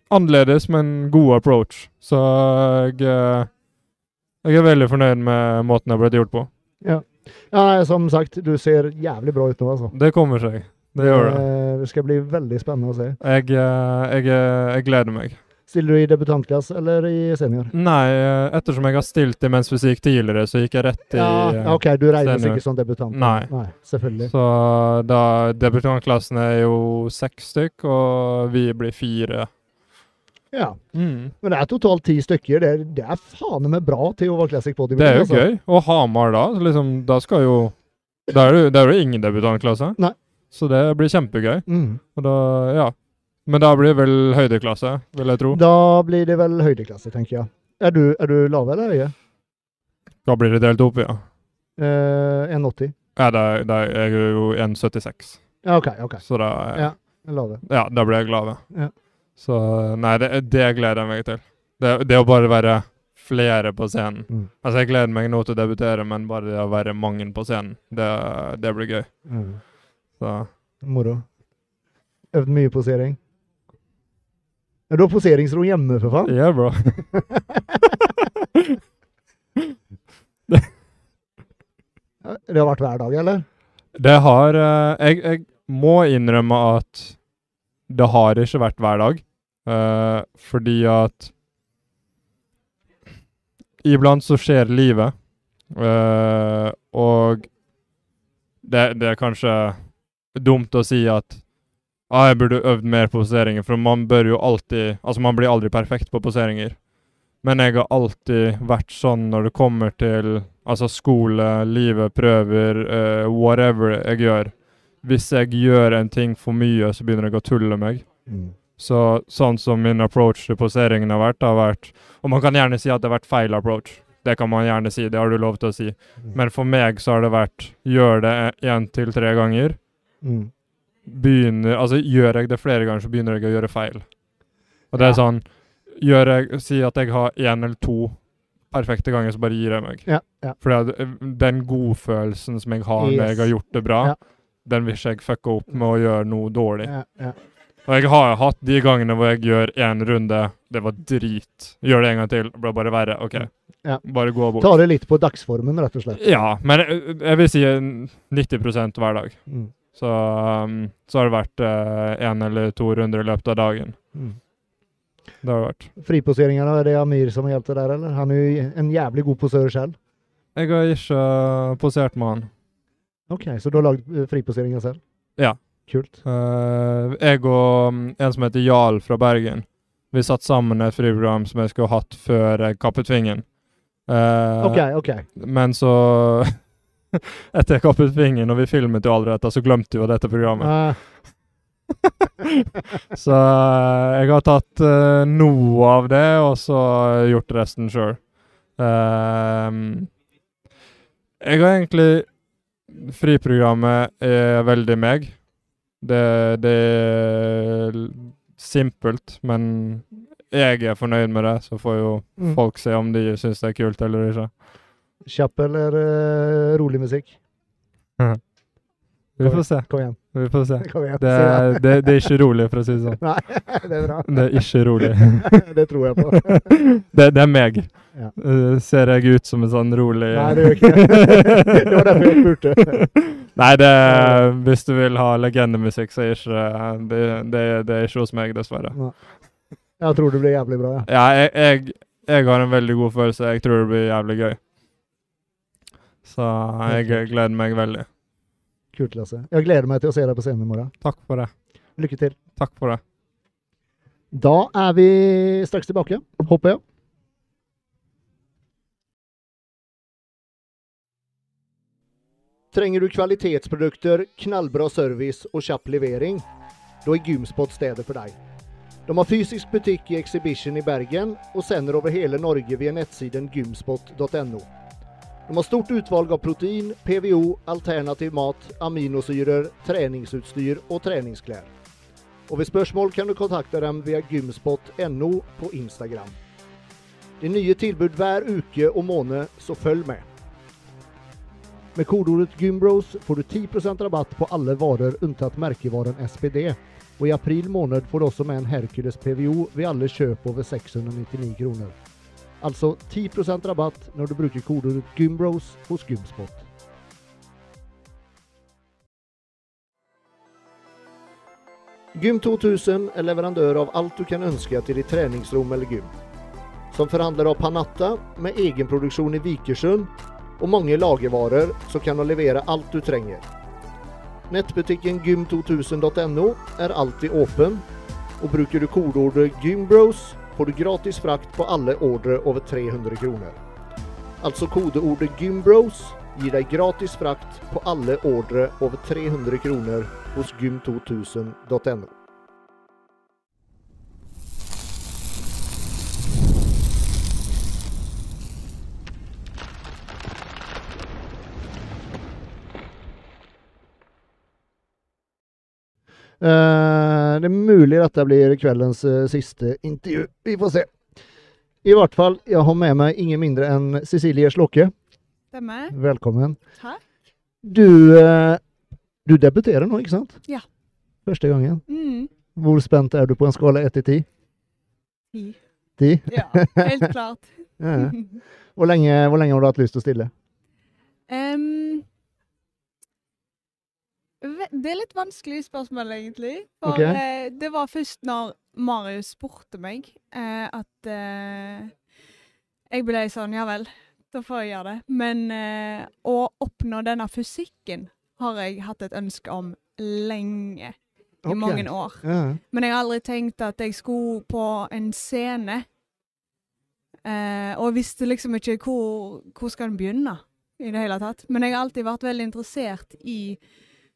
F: annerledes, men god approach. Så jeg eh, jeg er veldig fornøyd med måten det har blitt gjort på.
A: Ja, nei, som sagt, du ser jævlig bra ut nå, altså.
F: Det kommer seg. Det gjør det.
A: Eh, Det skal bli veldig spennende å se.
F: Jeg, eh, jeg, eh, jeg gleder meg.
A: Stiller du i debutantklasse eller i senior?
F: Nei, eh, ettersom jeg har stilt i mens fysikk tidligere, så gikk jeg rett i eh,
A: Ja, OK, du regnes
F: senior.
A: ikke som debutant?
F: Nei.
A: selvfølgelig.
F: Så da debutantklassen er jo seks stykk, og vi blir fire.
A: Ja. Men det er totalt ti stykker. Det er, det er faen meg bra til å være classic altså. body.
F: Det er jo gøy. Og Hamar da, så liksom, da skal jo Det er jo, det er jo ingen debutantklasse.
A: Nei.
F: Så det blir kjempegøy.
A: Mm.
F: Og da, ja. Men da blir det vel høydeklasse, vil jeg tro.
A: Da blir det väl høydeklasse, tenker jeg. Er du, er du lav eller høye?
F: Da blir det delt opp, ja.
A: Eh, 1,80?
F: Ja, da, da er jeg jo 1,76,
A: Ja, OK. ok.
F: så da
A: Ja.
F: ja.
A: Lave.
F: da blir jeg glad.
A: Ja.
F: Så nei, det, det gleder jeg meg til. Det, det å bare være flere på scenen.
A: Mm.
F: Altså, jeg gleder meg nå til å debutere, men bare det å være mange på scenen, det, det blir gøy.
A: Mm.
F: Så
A: Moro. Øvd mye posering? Ja, Du har poseringsro hjemme, for faen.
F: yeah, bro.
A: Ja, Det har vært hver dag, eller?
F: Det har eh, jeg, jeg må innrømme at det har ikke vært hver dag. eh, fordi at Iblant så skjer livet. eh, og det, det er kanskje dumt å si at ah, jeg burde øvd mer på poseringer, for man bør jo alltid Altså, man blir aldri perfekt på poseringer. Men jeg har alltid vært sånn når det kommer til Altså skole, livet, prøver, eh, whatever jeg gjør. Hvis jeg gjør en ting for mye, så begynner jeg å tulle meg.
A: Mm.
F: Så sånn som min approach til poseringen har vært, har vært Og man kan gjerne si at det har vært feil approach. Det kan man gjerne si, det har du lov til å si. Mm. Men for meg så har det vært gjør det én til tre ganger.
A: Mm.
F: Begynner Altså gjør jeg det flere ganger, så begynner jeg å gjøre feil. Og det er
A: Ja.
F: sånn gjør jeg, Si at jeg har én eller to perfekte ganger, så bare gir jeg meg.
A: Ja, ja.
F: For det er- den godfølelsen som jeg har når jeg har
A: Yes.
F: gjort det bra,
A: Ja. Mm.
F: den vil ikke jeg fucke opp med å gjøre noe dårlig.
A: ja, ja.
F: Og jeg har hatt de gangene hvor jeg gjør én runde, det var drit. Gjør det en gang til, det ble bare verre. OK,
A: Ja.
F: bare gå bort.
A: Ta det litt på dagsformen, rett og slett.
F: Ja, men jeg, jeg vil si en 90 hver dag.
A: Mm.
F: Så, um, så har det vært én eller to runder i løpet av dagen.
A: Mm.
F: Det har det vært.
A: Friposeringene, er det Amir som har hjulpet der, eller? Han er jo en jævlig god posør selv.
F: Jeg har ikke posert med han.
A: Ok, så du har lagd eh, friposeringer selv?
F: Ja.
A: Kult.
F: Eh, jeg og mm, en som heter Jarl fra Bergen, vi satt sammen et friprogram som jeg skulle hatt før jeg kappet fingeren. Eh,
A: Ok, ok.
F: Men så Etter jeg kappet fingeren, og vi filmet jo aldri dette, så glemte vi jo dette programmet.
A: Ah,
F: Så eh, jeg har tatt eh, noe av det, og så gjort resten sjøl. jeg har egentlig Friprogrammet er veldig meg. Det, det er l- simpelt, men jeg er fornøyd med det. Så får jo
A: Mm.
F: folk se om de syns det er kult eller ikke.
A: Kjapp eller eh, rolig musikk?
F: Vi får se.
A: Kom igjen.
F: Vi får se.
A: Kom igjen.
F: Det
A: Se da.
F: er, det, det er ikke rolig, for å si det sånn.
A: Nei, det er bra.
F: Det er ikke rolig.
A: det tror jeg på.
F: Det, det er meg.
A: Ja.
F: Eh, ser jeg ut som en sånn rolig
A: Nei, det gjør ikke det. Det var derfor jeg spurte.
F: Nei, det er- Hvis du vil ha legendemusikk, så er ikke det, det, det er ikke hos meg, dessverre.
A: Jeg tror det blir jævlig bra, ja.
F: Ja, jeg, jeg, jeg har en veldig god følelse. Jeg tror det blir jævlig gøy. Så jeg gleder meg veldig.
A: Kult, Lasse. Jeg gleder meg til å se deg på scenen i morgen.
F: Takk for det.
A: Lykke til.
F: Takk for det.
A: Da er vi straks tilbake, håper jeg. Trenger du kvalitetsprodukter, knallbra service og kjapp levering? Da er Gymspot stedet for deg. De har fysisk butikk i Exhibition i Bergen og sender over hele Norge via nettsiden gymspot.no. De har stort utvalg av protein, PVO, alternativ mat, aminosyrer, treningsutstyr og treningsklær. Og ved spørsmål kan du kontakte dem via gymspot.no på Instagram. Det er nye tilbud hver uke og måned, så følg med. Med kodeordet 'Gymbros' får du 10 rabatt på alle varer unntatt merkevaren SPD. Og i april måned får du også med en Hercules PVO ved alle kjøp over 699 kroner. Altså 10 rabatt når du bruker kodeordet 'Gymbros' hos Gymspot. Gym 2000 er leverandør av alt du kan ønske til ditt treningsrom eller gym. Som forhandler av Panatta med egenproduksjon i Vikersund og mange lagervarer som kan de levere alt du trenger. Nettbutikken gym2000.no er alltid åpen, og bruker du kodeordet 'gymbros' får du gratis frakt på alle ordre over 300 kroner. Altså kodeordet 'gymbros' gir deg gratis frakt på alle ordre over 300 kroner hos gym2000.no. Eh, det er mulig dette blir kveldens eh, siste intervju. Vi får se. I hvert fall, jeg har med meg ingen mindre enn Cecilie Slokke.
G: Stemmer.
A: Velkommen.
G: Takk.
A: Du, eh, du debuterer nå, ikke sant?
G: Ja.
A: Første gangen.
G: Mm.
A: Hvor spent er du på en skala 1 til 10?
G: Ti.
A: 10?
G: Ja, helt klart.
A: Ja. Hvor, lenge, hvor lenge har du hatt lyst til å stille?
G: Em, ve- det er litt vanskelig spørsmål, egentlig. For
A: Ok.
G: eh, det var først når Marius spurte meg eh, at eh, Jeg ble sånn, ja vel, da får jeg gjøre det. Men eh, å oppnå denne fysikken har jeg hatt et ønske om lenge. I
A: Ok.
G: mange år.
A: Ja.
G: Men jeg har aldri tenkt at jeg skulle på en scene. Eh, og visste liksom ikke hvor, hvor skal en begynne i det hele tatt. Men jeg har alltid vært veldig interessert i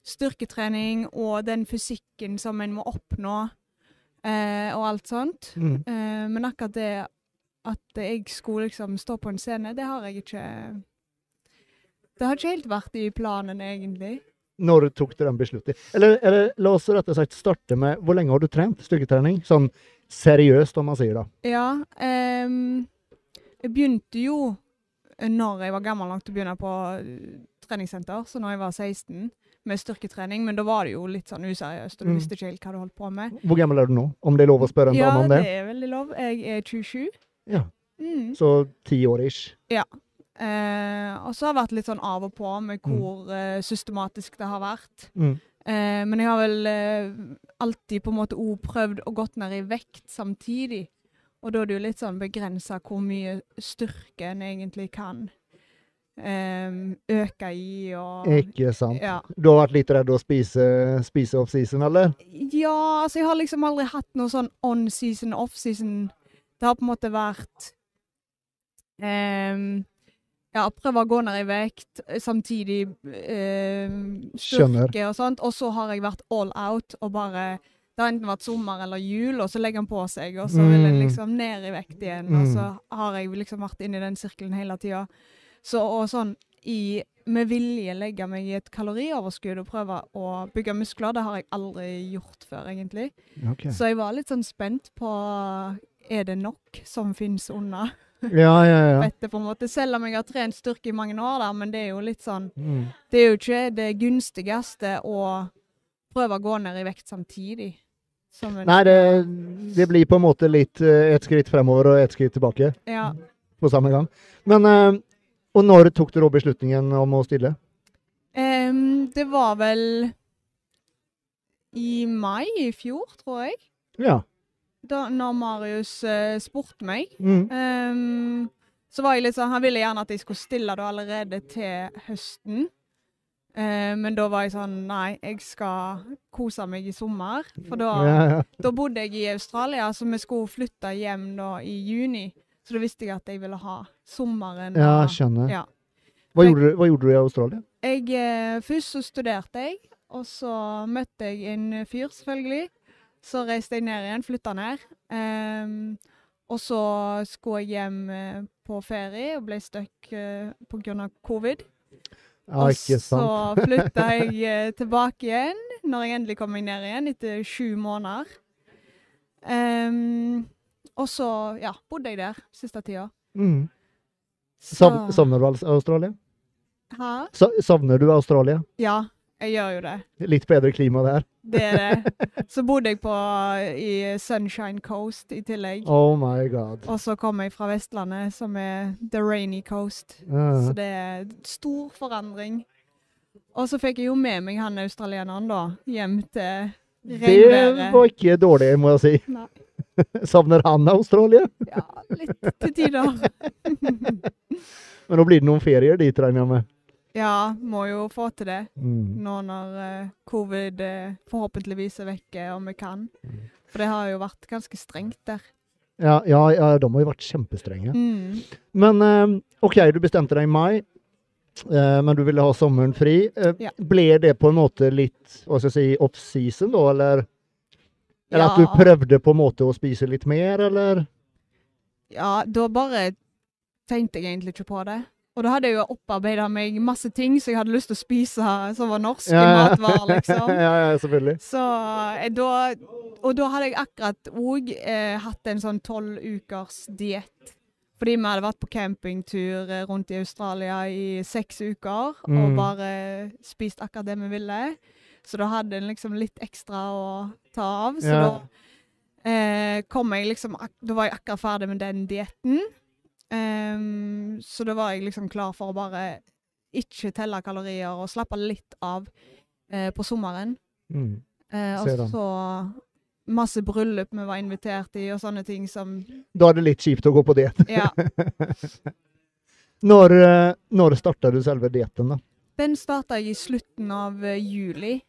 G: styrketrening og den fysikken som en må oppnå, eh, og alt sånt.
A: Mm.
G: Eh, men akkurat det at jeg skulle liksom stå på en scene, det har jeg ikke Det har ikke helt vært i planen, egentlig.
A: Når tok du den beslutningen? Eller, eller la oss rett og slett starte med hvor lenge har du trent styrketrening? Sånn seriøst, om man sier det.
G: Ja. ehm, jeg begynte jo eh, når jeg var gammel nok til å begynne på eh, treningssenter, så når jeg var 16, med styrketrening. Men da var det jo litt sånn useriøst, og du
A: Mm.
G: visste ikke helt hva du holdt på med.
A: Hvor gammel er du nå? Om det er lov å spørre en
G: Ja,
A: dame om
G: det
A: det?
G: er veldig lov. Jeg er 27.
A: Ja.
G: Mm.
A: Så ti år ish.
G: Eh, og så har jeg vært litt sånn av og på med hvor eh, systematisk det har vært.
A: Mm.
G: Eh, men jeg har vel eh, alltid på en måte òg prøvd å gått ned i vekt samtidig. Og da er det jo litt sånn begrensa hvor mye styrke en egentlig kan eh, øke i og
A: Ikke sant.
G: ja.
A: Du har vært litt redd å spise, spise off-season, eller?
G: Ja, altså jeg har liksom aldri hatt noe sånn on season, off season. Det har på en måte vært ehm, Ja, prøve å gå ned i vekt, eh, samtidig ehm,
A: Skjønner.
G: styrke og sånt. Og så har jeg vært all out og bare Det har enten vært sommer eller jul, og så legger en på seg, og så vil en
A: Mm.
G: liksom ned i vekt igjen. Og
A: Mm.
G: så har jeg liksom vært inni den sirkelen hele tida. Så, og sånn i med vilje legge meg i et kalorioverskudd og prøve å bygge muskler. Det har jeg aldri gjort før, egentlig.
A: Ok.
G: Så jeg var litt sånn spent på er det nok som finnes unna
A: Ja, ja, ja.
G: fettet, på en måte. Selv om jeg har trent styrke i mange år, da, men det er jo litt sånn
A: Mm.
G: Det er jo ikke det gunstigste å prøve å gå ned i vekt samtidig. Som en,
A: Nei, det, det blir på en måte litt eh, ett skritt fremover og ett skritt tilbake
G: ja.
A: på samme gang. Men eh, Og når tok du da beslutningen om å stille?
G: Em, Ehm, det var vel i mai i fjor, tror jeg,
A: Ja.
G: da når Marius eh, spurte meg.
A: Mm.
G: Ehm, så var jeg litt sånn, Han ville gjerne at jeg skulle stille da allerede til høsten. Eh, men da var jeg sånn Nei, jeg skal kose meg i sommer. For da,
A: Ja, ja.
G: da bodde jeg i Australia, så vi skulle flytte hjem da i juni. Så da visste jeg at jeg ville ha sommeren.
A: ja,
G: og-
A: skjønner.
G: ja.
A: Hva, gjorde, du- hva gjorde du i Australia?
G: jeg, eh, først så studerte jeg, og så møtte jeg en fyr, selvfølgelig. Så reiste jeg ned igjen, flytta ned. Ehm, og så skulle jeg hjem eh, på ferie og ble stuck eh, på grunn pga. covid.
A: Ja, ikke sant.
G: Og så flytta jeg eh, tilbake igjen når jeg endelig kom meg ned igjen, etter sju måneder. Ehm, og så ja, bodde jeg der siste tida.
A: Mm.
G: Så
A: Sav, savner du Aus- Australia?
G: Hæ?
A: Sa, savner du Australia?
G: Ja, jeg gjør jo det.
A: Litt bedre klima der.
G: Det er det. Så bodde jeg på i Sunshine Coast i tillegg.
A: Oh my god.
G: Og så kom jeg fra Vestlandet, som er The Rainy Coast. Så
A: Ja.
G: det er stor forandring. Og så fikk jeg jo med meg han australieneren, da, hjem til
A: Det var ikke dårlig, må jeg si.
G: Nei.
A: Savner han Australia?
G: Ja, litt til tider.
A: Men nå blir det noen ferier dit, regner jeg med.
G: Ja, må jo få til det
A: Mm.
G: nå når eh, covid eh, forhåpentligvis er vekke, og vi kan. For det har jo vært ganske strengt der.
A: Ja, ja, ja, de har jo vært kjempestrenge.
G: Mm.
A: Men eh, OK, du bestemte deg i mai. Eh, men du ville ha sommeren fri. Eh,
G: Ja.
A: Ble det på en måte litt hva skal jeg si, off-season, da, eller? Eller at
G: Ja.
A: du prøvde på en måte å spise litt mer, eller?
G: Ja, da bare tenkte jeg egentlig ikke på det. Og da hadde jeg jo opparbeida meg masse ting som jeg hadde lyst til å spise som var norske matvarer, liksom.
A: ja, ja, selvfølgelig.
G: Så eh, da Og da hadde jeg akkurat òg eh, hatt en sånn tolv ukers diett. Fordi vi hadde vært på campingtur eh, rundt i Australia i seks uker og
A: Mm.
G: bare spist akkurat det vi ville. Så da hadde en liksom litt ekstra å ta av. Så
A: Ja.
G: da eh, kom jeg liksom ak Da var jeg akkurat ferdig med den dietten. Ehm, så da var jeg liksom klar for å bare ikke telle kalorier og slappe litt av eh, på sommeren.
A: Mm.
G: Eh,
A: Ser den.
G: og så masse bryllup vi var invitert i, og sånne ting som
A: Da er det litt kjipt å gå på diett.
G: Ja.
A: Når, eh, når starta du selve dietten, da?
G: Den starta jeg i slutten av eh, juli,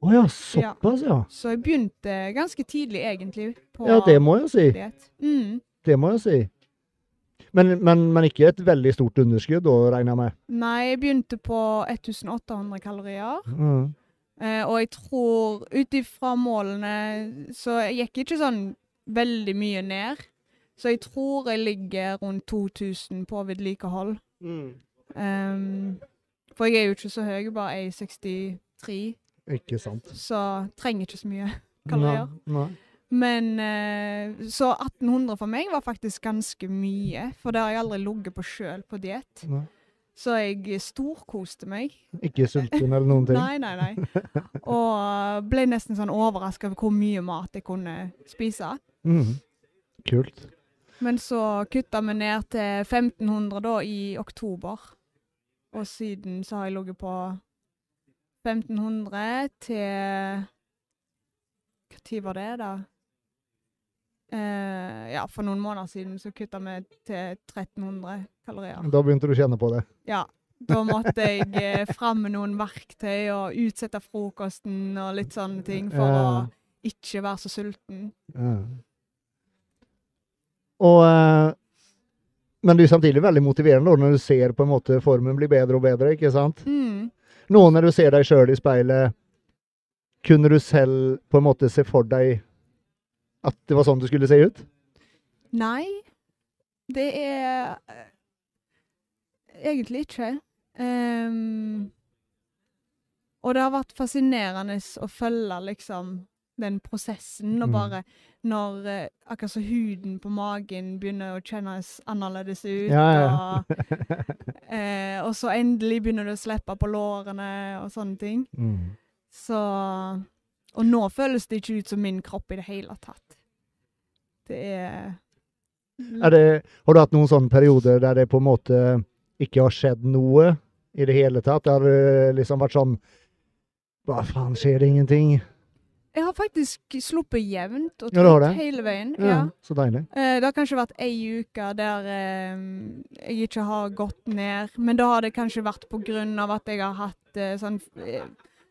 A: Å ja,
G: Ja.
A: såpass, ja.
G: så jeg begynte ganske tidlig, egentlig, på
A: Ja, det må jeg si.
G: diet. Mm.
A: Det må jeg si. Men, men, men ikke et veldig stort underskudd, da, regner jeg med.
G: Nei, jeg begynte på 1800 kalorier.
A: Mm.
G: Eh, og jeg tror, ut ifra målene, så jeg gikk ikke sånn veldig mye ned. Så jeg tror jeg ligger rundt 2000 på vedlikehold. Ehm, for jeg er jo ikke så høy, jeg er bare 1,63.
A: Ikke sant.
G: så trenger ikke så mye kalorier.
A: Nei. Nei.
G: Men eh, Så 1800 for meg var faktisk ganske mye, for det har jeg aldri ligget på sjøl på diett.
A: Nei.
G: Så jeg storkoste meg.
A: Ikke sulten eller noen ting.
G: Nei, nei, nei. Og ble nesten sånn overraska over hvor mye mat jeg kunne spise.
A: Mm. Kult.
G: Men så kutta vi ned til 1500 da i oktober. Og siden så har jeg ligget på 1500 til Når var det, da? Eh, ja, for noen måneder siden så kutta vi til 1300 kalorier.
A: Da begynte du å kjenne på det.
G: Ja. Da måtte jeg eh, fram med noen verktøy og utsette frokosten og litt sånne ting for
A: Ja.
G: å ikke være så sulten.
A: Ja. Og, eh, men det er jo samtidig veldig motiverende da, når du ser på en måte formen blir bedre og bedre. ikke sant?
G: Mm.
A: Nå når du ser deg sjøl i speilet, kunne du selv på en måte se for deg at det var sånn du skulle se ut?
G: Nei, det er eh, egentlig ikke. Ehm, og det har vært fascinerende å følge liksom den prosessen, og
A: Mm.
G: bare når eh, akkurat så huden på magen begynner å kjennes annerledes ut,
A: Ja, ja.
G: Og, eh, og så endelig begynner du å slippe på lårene og sånne ting.
A: Mm.
G: Så Og nå føles det ikke ut som min kropp i det hele tatt. Det er
A: Er det, har du hatt noen sånne perioder der det på en måte ikke har skjedd noe i det hele tatt? Det har eh, liksom vært sånn Hva faen, skjer det ingenting?
G: Jeg har faktisk sluppet jevnt og
A: Ja, du har
G: tatt
A: det?
G: hele veien.
A: Ja,
G: Ja.
A: Så deilig.
G: Eh, Det har kanskje vært ei uke der eh, jeg ikke har gått ned, men da har det kanskje vært på grunn av at jeg har hatt eh, sånn eh,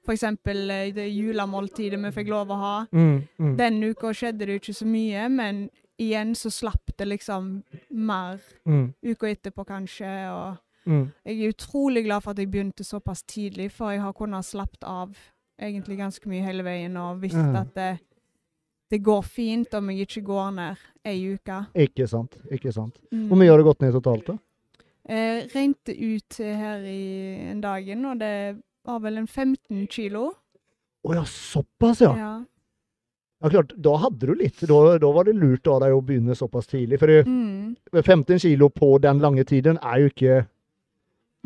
G: For eksempel eh, det julemåltidet vi fikk lov å ha.
A: Mm, mm.
G: Den uka skjedde det jo ikke så mye, men igjen så slapp det liksom mer
A: Mm,
G: uka etterpå, kanskje. og...
A: mm.
G: Jeg er utrolig glad for at jeg begynte såpass tidlig, for jeg har kunnet slappet av egentlig ganske mye hele veien og visst
A: Ja.
G: at det, det går fint om jeg ikke går ned ei uke.
A: Ikke sant. Ikke sant.
G: Mm.
A: Hvor mye har det gått ned totalt, da?
G: Eh, rente ut her i en dagen, og det var vel en 15 kilo.
A: Å ja, såpass, ja. Ja, klart, Da hadde du litt. Da, da var det lurt av deg å begynne såpass tidlig. For det-
G: Mm.
A: 15 kilo på den lange tiden er jo ikke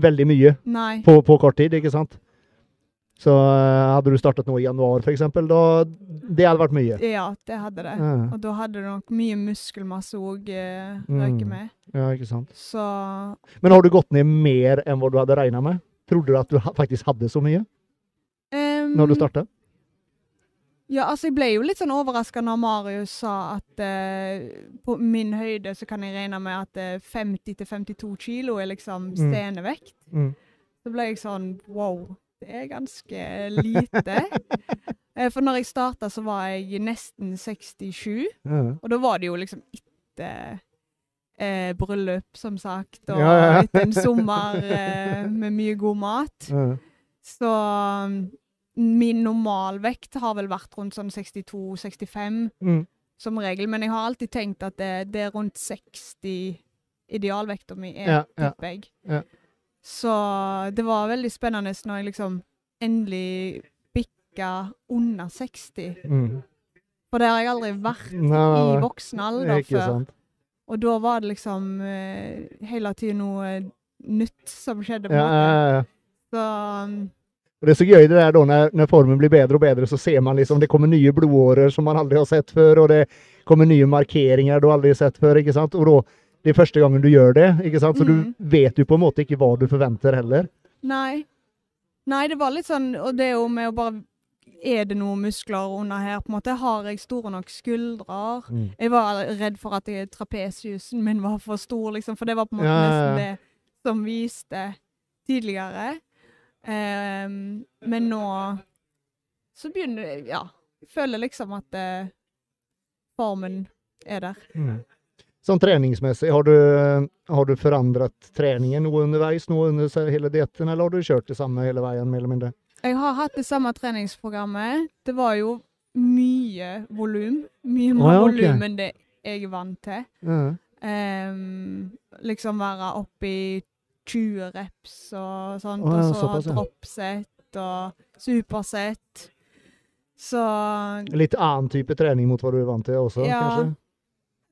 A: veldig mye
G: Nei.
A: på, på kort tid, ikke sant? Så eh, hadde du startet nå i januar, for eksempel, da Det hadde vært mye.
G: Ja, det hadde det.
A: Ja,
G: Og da hadde det nok mye muskelmasse òg eh,
A: Mm.
G: røyke med.
A: ja, ikke sant.
G: Så
A: Men har du gått ned mer enn hva du hadde regna med? Trodde du at du ha- faktisk hadde så mye
G: ehm,
A: når du starta?
G: Ja, altså jeg ble jo litt sånn overraska når Marius sa at eh, på min høyde så kan jeg regne med at eh, 50-52 kilo er liksom
A: Mm.
G: stenevekt.
A: Mm.
G: Så ble jeg sånn wow, det er ganske lite. Eh, For når jeg starta så var jeg nesten 67,
A: Ja.
G: og da var det jo liksom etter eh, bryllup, som sagt, og
A: Ja, ja.
G: etter en sommer eh, med mye god mat.
A: Ja.
G: Så mm, min normalvekt har vel vært rundt sånn 62-65
A: Mm.
G: som regel, men jeg har alltid tenkt at det, det er rundt 60 idealvekta mi er,
A: Ja, ja,
G: tipper jeg.
A: ja.
G: Så det var veldig spennende når jeg liksom endelig bikka under 60.
A: Mm.
G: For det har jeg aldri vært
A: Nei, nei,
G: i
A: nei.
G: voksen alder
A: Ah, Ikke
G: før.
A: sant.
G: Og da var det liksom eh, hele tida noe nytt som skjedde. på en
A: Ja,
G: måte.
A: ja, ja.
G: Så mm,
A: Och det är så gøy det där då när, när formen blir bättre och bättre så ser man liksom det kommer nya blodåror som man aldrig har sett förr och det kommer nya markeringar du aldrig sett förr, inte sant? Och då, det är första gången du gör det, inte sant? Så
G: Mm.
A: du vet ju på en måte inte vad du förväntar heller.
G: nei. Nei, det var litt sånn Og det er jo med å bare Er det noen muskler under her, på en måte? Har jeg store nok skuldre?
A: Mm.
G: Jeg var redd for at jeg- trapesjusen min var for stor, liksom, for det var på en måte
A: Ja, ja, ja.
G: nesten det som viste tidligere. Ehm, men nå så begynner jeg Ja. Jeg føler liksom at eh, formen er der.
A: Mm. Som träningsmässigt, har du, eh, har du förändrat träningen nå under vägs, nå under så här hela dieten eller har du kört detsamma hela vägen mer eller mindre?
G: Jeg har hatt det samme treningsprogrammet. Det var jo mye volum. Mye mer
A: Å, ja, ok.
G: volum enn det jeg er vant til.
A: Ja.
G: Ehm, liksom være oppe i 20 reps og sånt,
A: Å, ja,
G: og så
A: såpass, ja.
G: dropset og supersett. Så
A: Lite annan typ av träning mot vad du är vant till också
G: Ja.
A: kanske?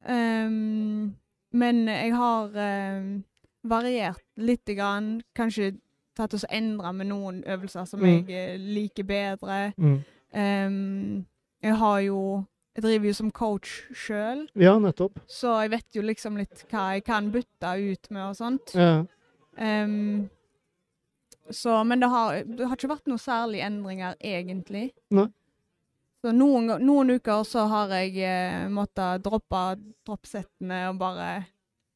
G: ehm, Men jeg har ehm, variert lite grann. Kanskje tatt oss endra med noen øvelser som
A: Mm.
G: jeg eh, liker bedre.
A: Mm.
G: Ehm, jeg har jo Jeg driver jo som coach sjøl,
A: Ja, nettopp.
G: så jeg vet jo liksom litt hva jeg kan bytte ut med og sånt.
A: Ja.
G: Ehm, så, men det har, det har ikke vært noen særlige endringer, egentlig.
A: Nei.
G: Så noen, ga- noen uker så har jeg eh, måttet droppe droppsettene og bare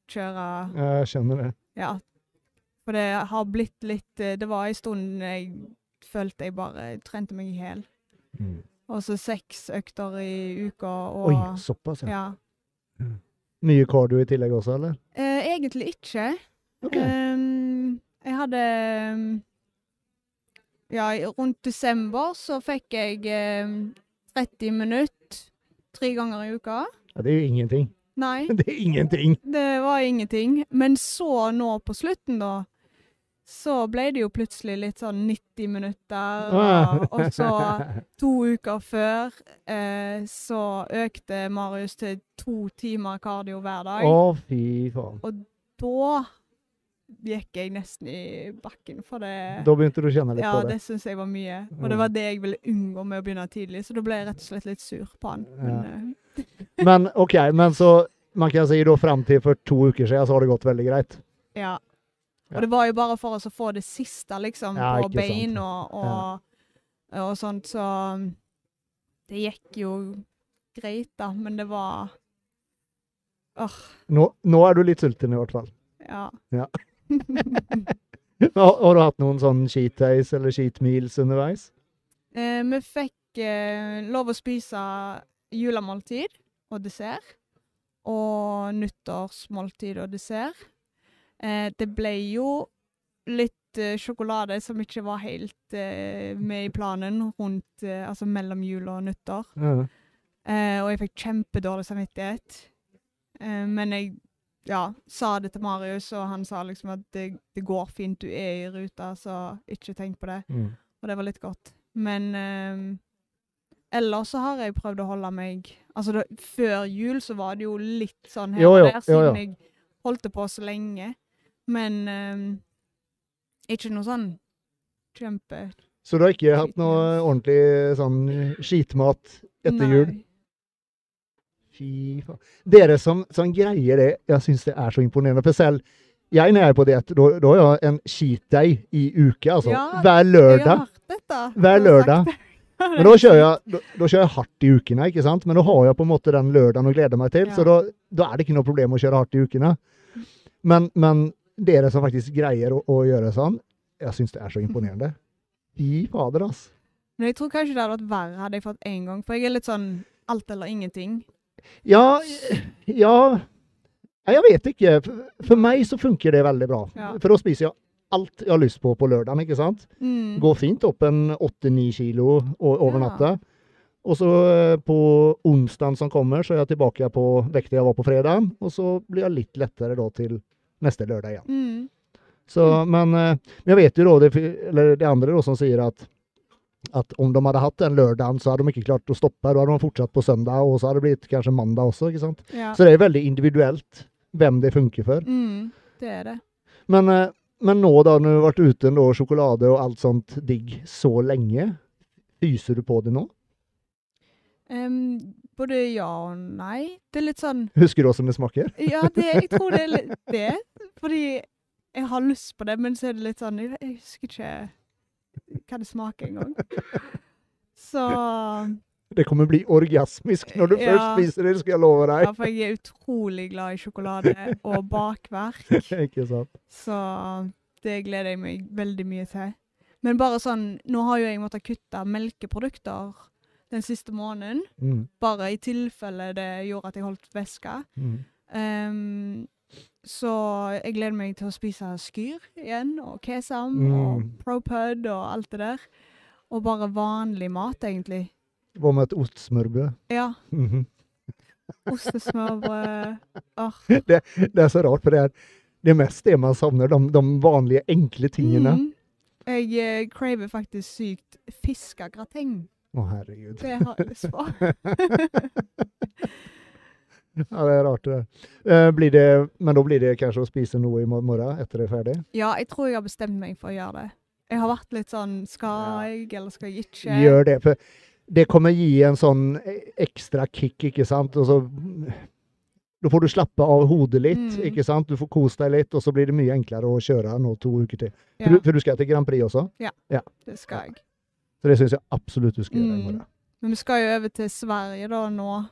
G: kjøre
A: ja, jag känner det.
G: Ja. For det har blitt litt eh, Det var en stund jeg følte jeg bare trente meg i hjel. Og så Altså seks økter i uka og
A: Mm. Oj, så pass ja.
G: ja.
A: Mye cardio i tillegg også, eller?
G: Eh, egentlig ikke.
A: Ok.
G: Ehm, jeg hadde ehm, Ja, i- rundt desember så fikk jeg ehm, 30 minutter tre ganger i uka.
A: Ja, det er jo ingenting.
G: Nei,
A: Det er ingenting.
G: det var ingenting. Men så nå på slutten, da, så ble det jo plutselig litt sånn 90 minutter.
A: Ah.
G: Og, og så to uker før eh, så økte Marius til to timer kardio hver dag.
A: Å, fy faen.
G: Da gikk jeg nesten i bakken, for det
A: Da begynte du å kjenne litt
G: Ja,
A: på det.
G: det syns jeg var mye.
A: Mm.
G: Og det var det jeg ville unngå med å begynne tidlig, så da ble jeg rett og slett litt sur på han. Men, eh,
A: Men ok, men så man kan si da fram til for to uker siden så har det gått veldig greit.
G: ja.
A: Ja.
G: Og det var jo bare for oss å få det siste, liksom,
A: Ja,
G: på
A: ikke sant.
G: bein og, og, og sånt, så um, Det gikk jo greit, da, men det var Åh,
A: Nå, nå er du litt sulten i hvert fall.
G: ja.
A: Ja. Har, har du hatt noen sånn cheat days eller cheat meals underveis?
G: Eh, vi fikk eh, lov å spise julemåltid og dessert. Og nyttårsmåltid og dessert. Eh, det ble jo litt eh, sjokolade som ikke var helt eh, med i planen rundt, eh, altså mellom jul og nyttår.
A: Ja.
G: Eh, og jeg fikk kjempedårlig samvittighet. Eh, men jeg ja, sa det til Marius, og han sa liksom at det, det går fint, du er i ruta, så ikke tenk på det.
A: Mm.
G: Og det var litt godt. Men eh, ellers så har jeg prøvd å holde meg Altså da, før jul så var det jo litt sånn her
A: Jo,
G: og
A: jo,
G: der,
A: jo, jo.
G: siden jeg holdt det på så lenge. Men eh, ikke noe sånn kjempe
A: Så du har ikke hatt noe ordentlig sånn skitmat etter jul?
G: Nei.
A: Fy faen. Dere som, som greier det, jeg syns det er så imponerende. For selv jeg når jeg er på diett, da da har jeg en cheat day i uke, altså.
G: Ja,
A: Hver
G: Jeg har
A: lørdag.
G: hørt dette.
A: Hver
G: Du har sagt
A: lørdag.
G: det.
A: Men da kjører, jeg, da, da kjører jeg hardt i ukene, ikke sant? Men da har jeg på en måte den lørdagen å glede meg til,
G: Ja.
A: så da, da er det ikke noe problem å kjøre hardt i ukene. Men, men dere som faktisk greier å, å gjøre sånn, jeg syns det er så imponerende. Fy fader, ass.
G: Men jeg tror kanskje det hadde vært verre hadde jeg fått én gang, for jeg er litt sånn alt eller ingenting.
A: Ja, ja Nej, jag vet inte. För- För mig så funkar det väldigt bra.
G: Ja.
A: För då spiser jag allt jag har lust på på lördagen, inte sant?
G: Mm.
A: Går fint upp en 8-9 kilo och övernatta.
G: Ja.
A: Och så eh, på onsdagen som kommer så är jag tillbaka på vekten jag var på fredagen och så blir jag lite lättare då till nästa lördag igen.
G: Mm.
A: Så, men, eh, men jag vet ju då, det, eller det andra då som säger att, att om de hade haft den lördagen så hade de inte klart att stoppa, då hade de fortsatt på söndag och så hade det blivit kanske måndag också. Inte sant?
G: Ja.
A: Så det är väldigt individuellt vem det funkar för.
G: Mm. Det är det.
A: Men, eh, men nå då, nu har du varit ute då, choklad och allt sånt digg så länge, fyser du på det nå?
G: Ehm, både ja og nei. Det er litt sånn
A: Husker du som det smakar?
G: Ja, det, jeg tror det er litt det. Fordi jeg har lyst på det, men så er det litt sånn Jeg, jeg husker ikke hva det smaker engang. Så
A: Det kommer bli orgasmiskt när du
G: Ja.
A: först spiser det, ska jag lova dig.
G: Ja, for jeg er utrolig glad i sjokolade og bakverk.
A: Inte sant?
G: Så det gleder jeg meg veldig mye til. Men bare sånn Nå har jo jeg måttet kutte melkeprodukter den siste måneden.
A: Mm.
G: Bare i tilfelle det gjorde at jeg holdt væske.
A: Mm.
G: Ehm, så jeg gleder meg til å spise skyr igjen, og kesam og
A: Mm.
G: propud og alt det der. Og bare vanlig mat, egentlig.
A: Vad med ett ostsmörbröd?
G: Ja.
A: Mhm.
G: Ostesmørbrød. Åh,
A: Det är så rart för det är det är mest det man savnar, de, de vanliga enkla tingarna.
G: mm. Jeg eh, craver faktisk sykt fiskegrateng.
A: Åh herregud.
G: Det har jeg lyst på.
A: Ja, det är rart det där. Eh, blir det, men då blir det kanske att spisa något i morgon efter det är färdigt?
G: Ja, jeg tror jeg har bestemt meg for å gjøre det. Jeg har vært litt sånn
A: Ja.
G: Skal jeg, eller skal jeg ikke?
A: Gör det, för det kommer ge en sån extra kick, icke sant? Och så, då får du slappa av hodeligt,
G: Mm.
A: icke sant? Du får kosta dig lite och så blir det mycket enklare att köra något två veckor till. För,
G: Ja,
A: du, för du ska till Grand Prix också,
G: det skal jeg.
A: så det syns jag absolut du ska göra i
G: Mm.
A: morgon.
G: Men vi skal jo over til Sverige da nå,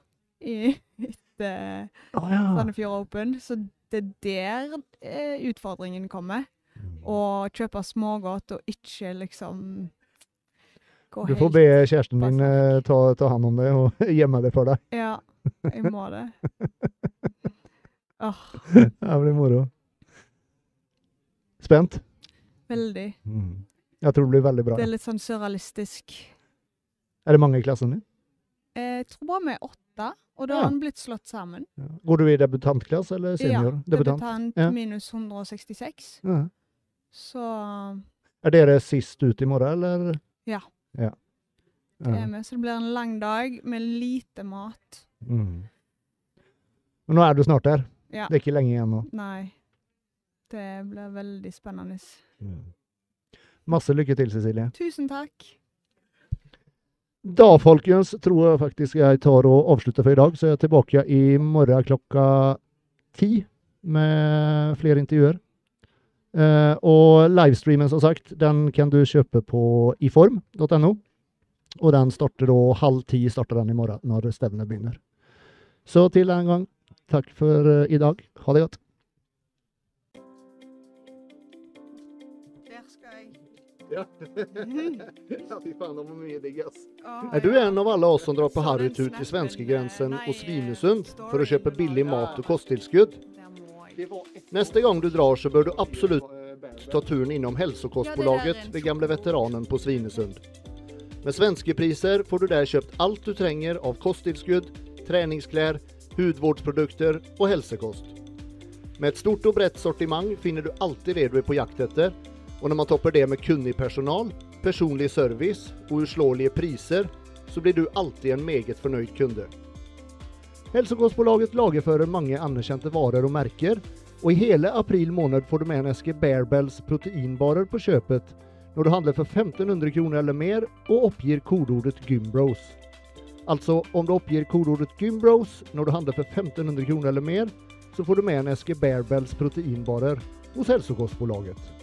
G: i etter
A: Ah, ja.
G: Sandefjord Open. Så det er der eh, utfordringen kommer.
A: Mm.
G: Å kjøpe smågodt og ikke liksom gå
A: Du får be kärsten din
G: Passar.
A: eh, ta, ta hand om det och gömma det för dig.
G: Ja, jeg må det. Åh,
A: Det blir moro. Spänt?
G: veldig.
A: Jag tror det blir väldigt bra.
G: Det er litt sånn surrealistisk.
A: Är det många i klassen nu?
G: Eh, Jeg tror bare vi er åtte, og da
A: Ja.
G: har den blitt slått sammen.
A: Ja. Går du i debutantklass eller senior?
G: Ja,
A: Debutant.
G: debutant
A: Ja.
G: minus 166.
A: Ja.
G: Så
A: Är det det sist ut imorgon eller?
G: Ja.
A: ja.
G: det er
A: Ja.
G: vi. Så det blir en lang dag med lite mat.
A: Mm. Men nu är du snart där.
G: Ja.
A: Det är inte länge igen. då.
G: Nei. Det blir veldig spennende.
A: Massor lycka till Cecilia.
G: Tusen takk.
A: Dagfolkens tror jag faktiskt jag tar och avslutar för idag. Så jag är tillbaka imorgon klockan 10 med fler intervjuer. Eh, och livestreamen som sagt, den kan du köpa på iform.no. Och den startar då halv 10 startar den imorgon när stävlen börjar. Så till en gång, tack för eh, idag. Ha det gott!
G: Der skal jeg.
A: Ja, fy fan, de är medigas.
G: Å,
A: Är du
G: ja.
A: en av alla oss som drar på
G: Så
A: Harryt
G: den
A: ut till
G: snappen,
A: svenska gränsen
G: eh, nej,
A: och Svinesund
G: eh,
A: för att köpa
G: storyn
A: billig
G: var-
A: mat och kosttillskott?
G: Der må jeg.
A: Nästa gång du drar så bör du absolut ta turen inom hälsokostbolaget vid Gamla Veteranen på Svinesund. Med svenska priser får du där köpt allt du tränger av kosttillskott, träningskläder, hudvårdsprodukter och hälsokost. Med ett stort och brett sortimang finner du alltid det du är på jakt efter och när man toppar det med kunnig personal, personlig service och urslåeliga priser så blir du alltid en meget förnöjd kunde. Hälsokostbolaget lagerfører mange anerkjente varer og merker, og i hele april måned får du med en eske Bearbells proteinbarer på kjøpet når du handler for 1500 kroner eller mer og oppgir kodeordet Gymbros. Altså, om du oppgir kodeordet Gymbros når du handler for 1500 kroner eller mer, så får du med en eske Bearbells proteinbarer hos Hälsokostbolaget.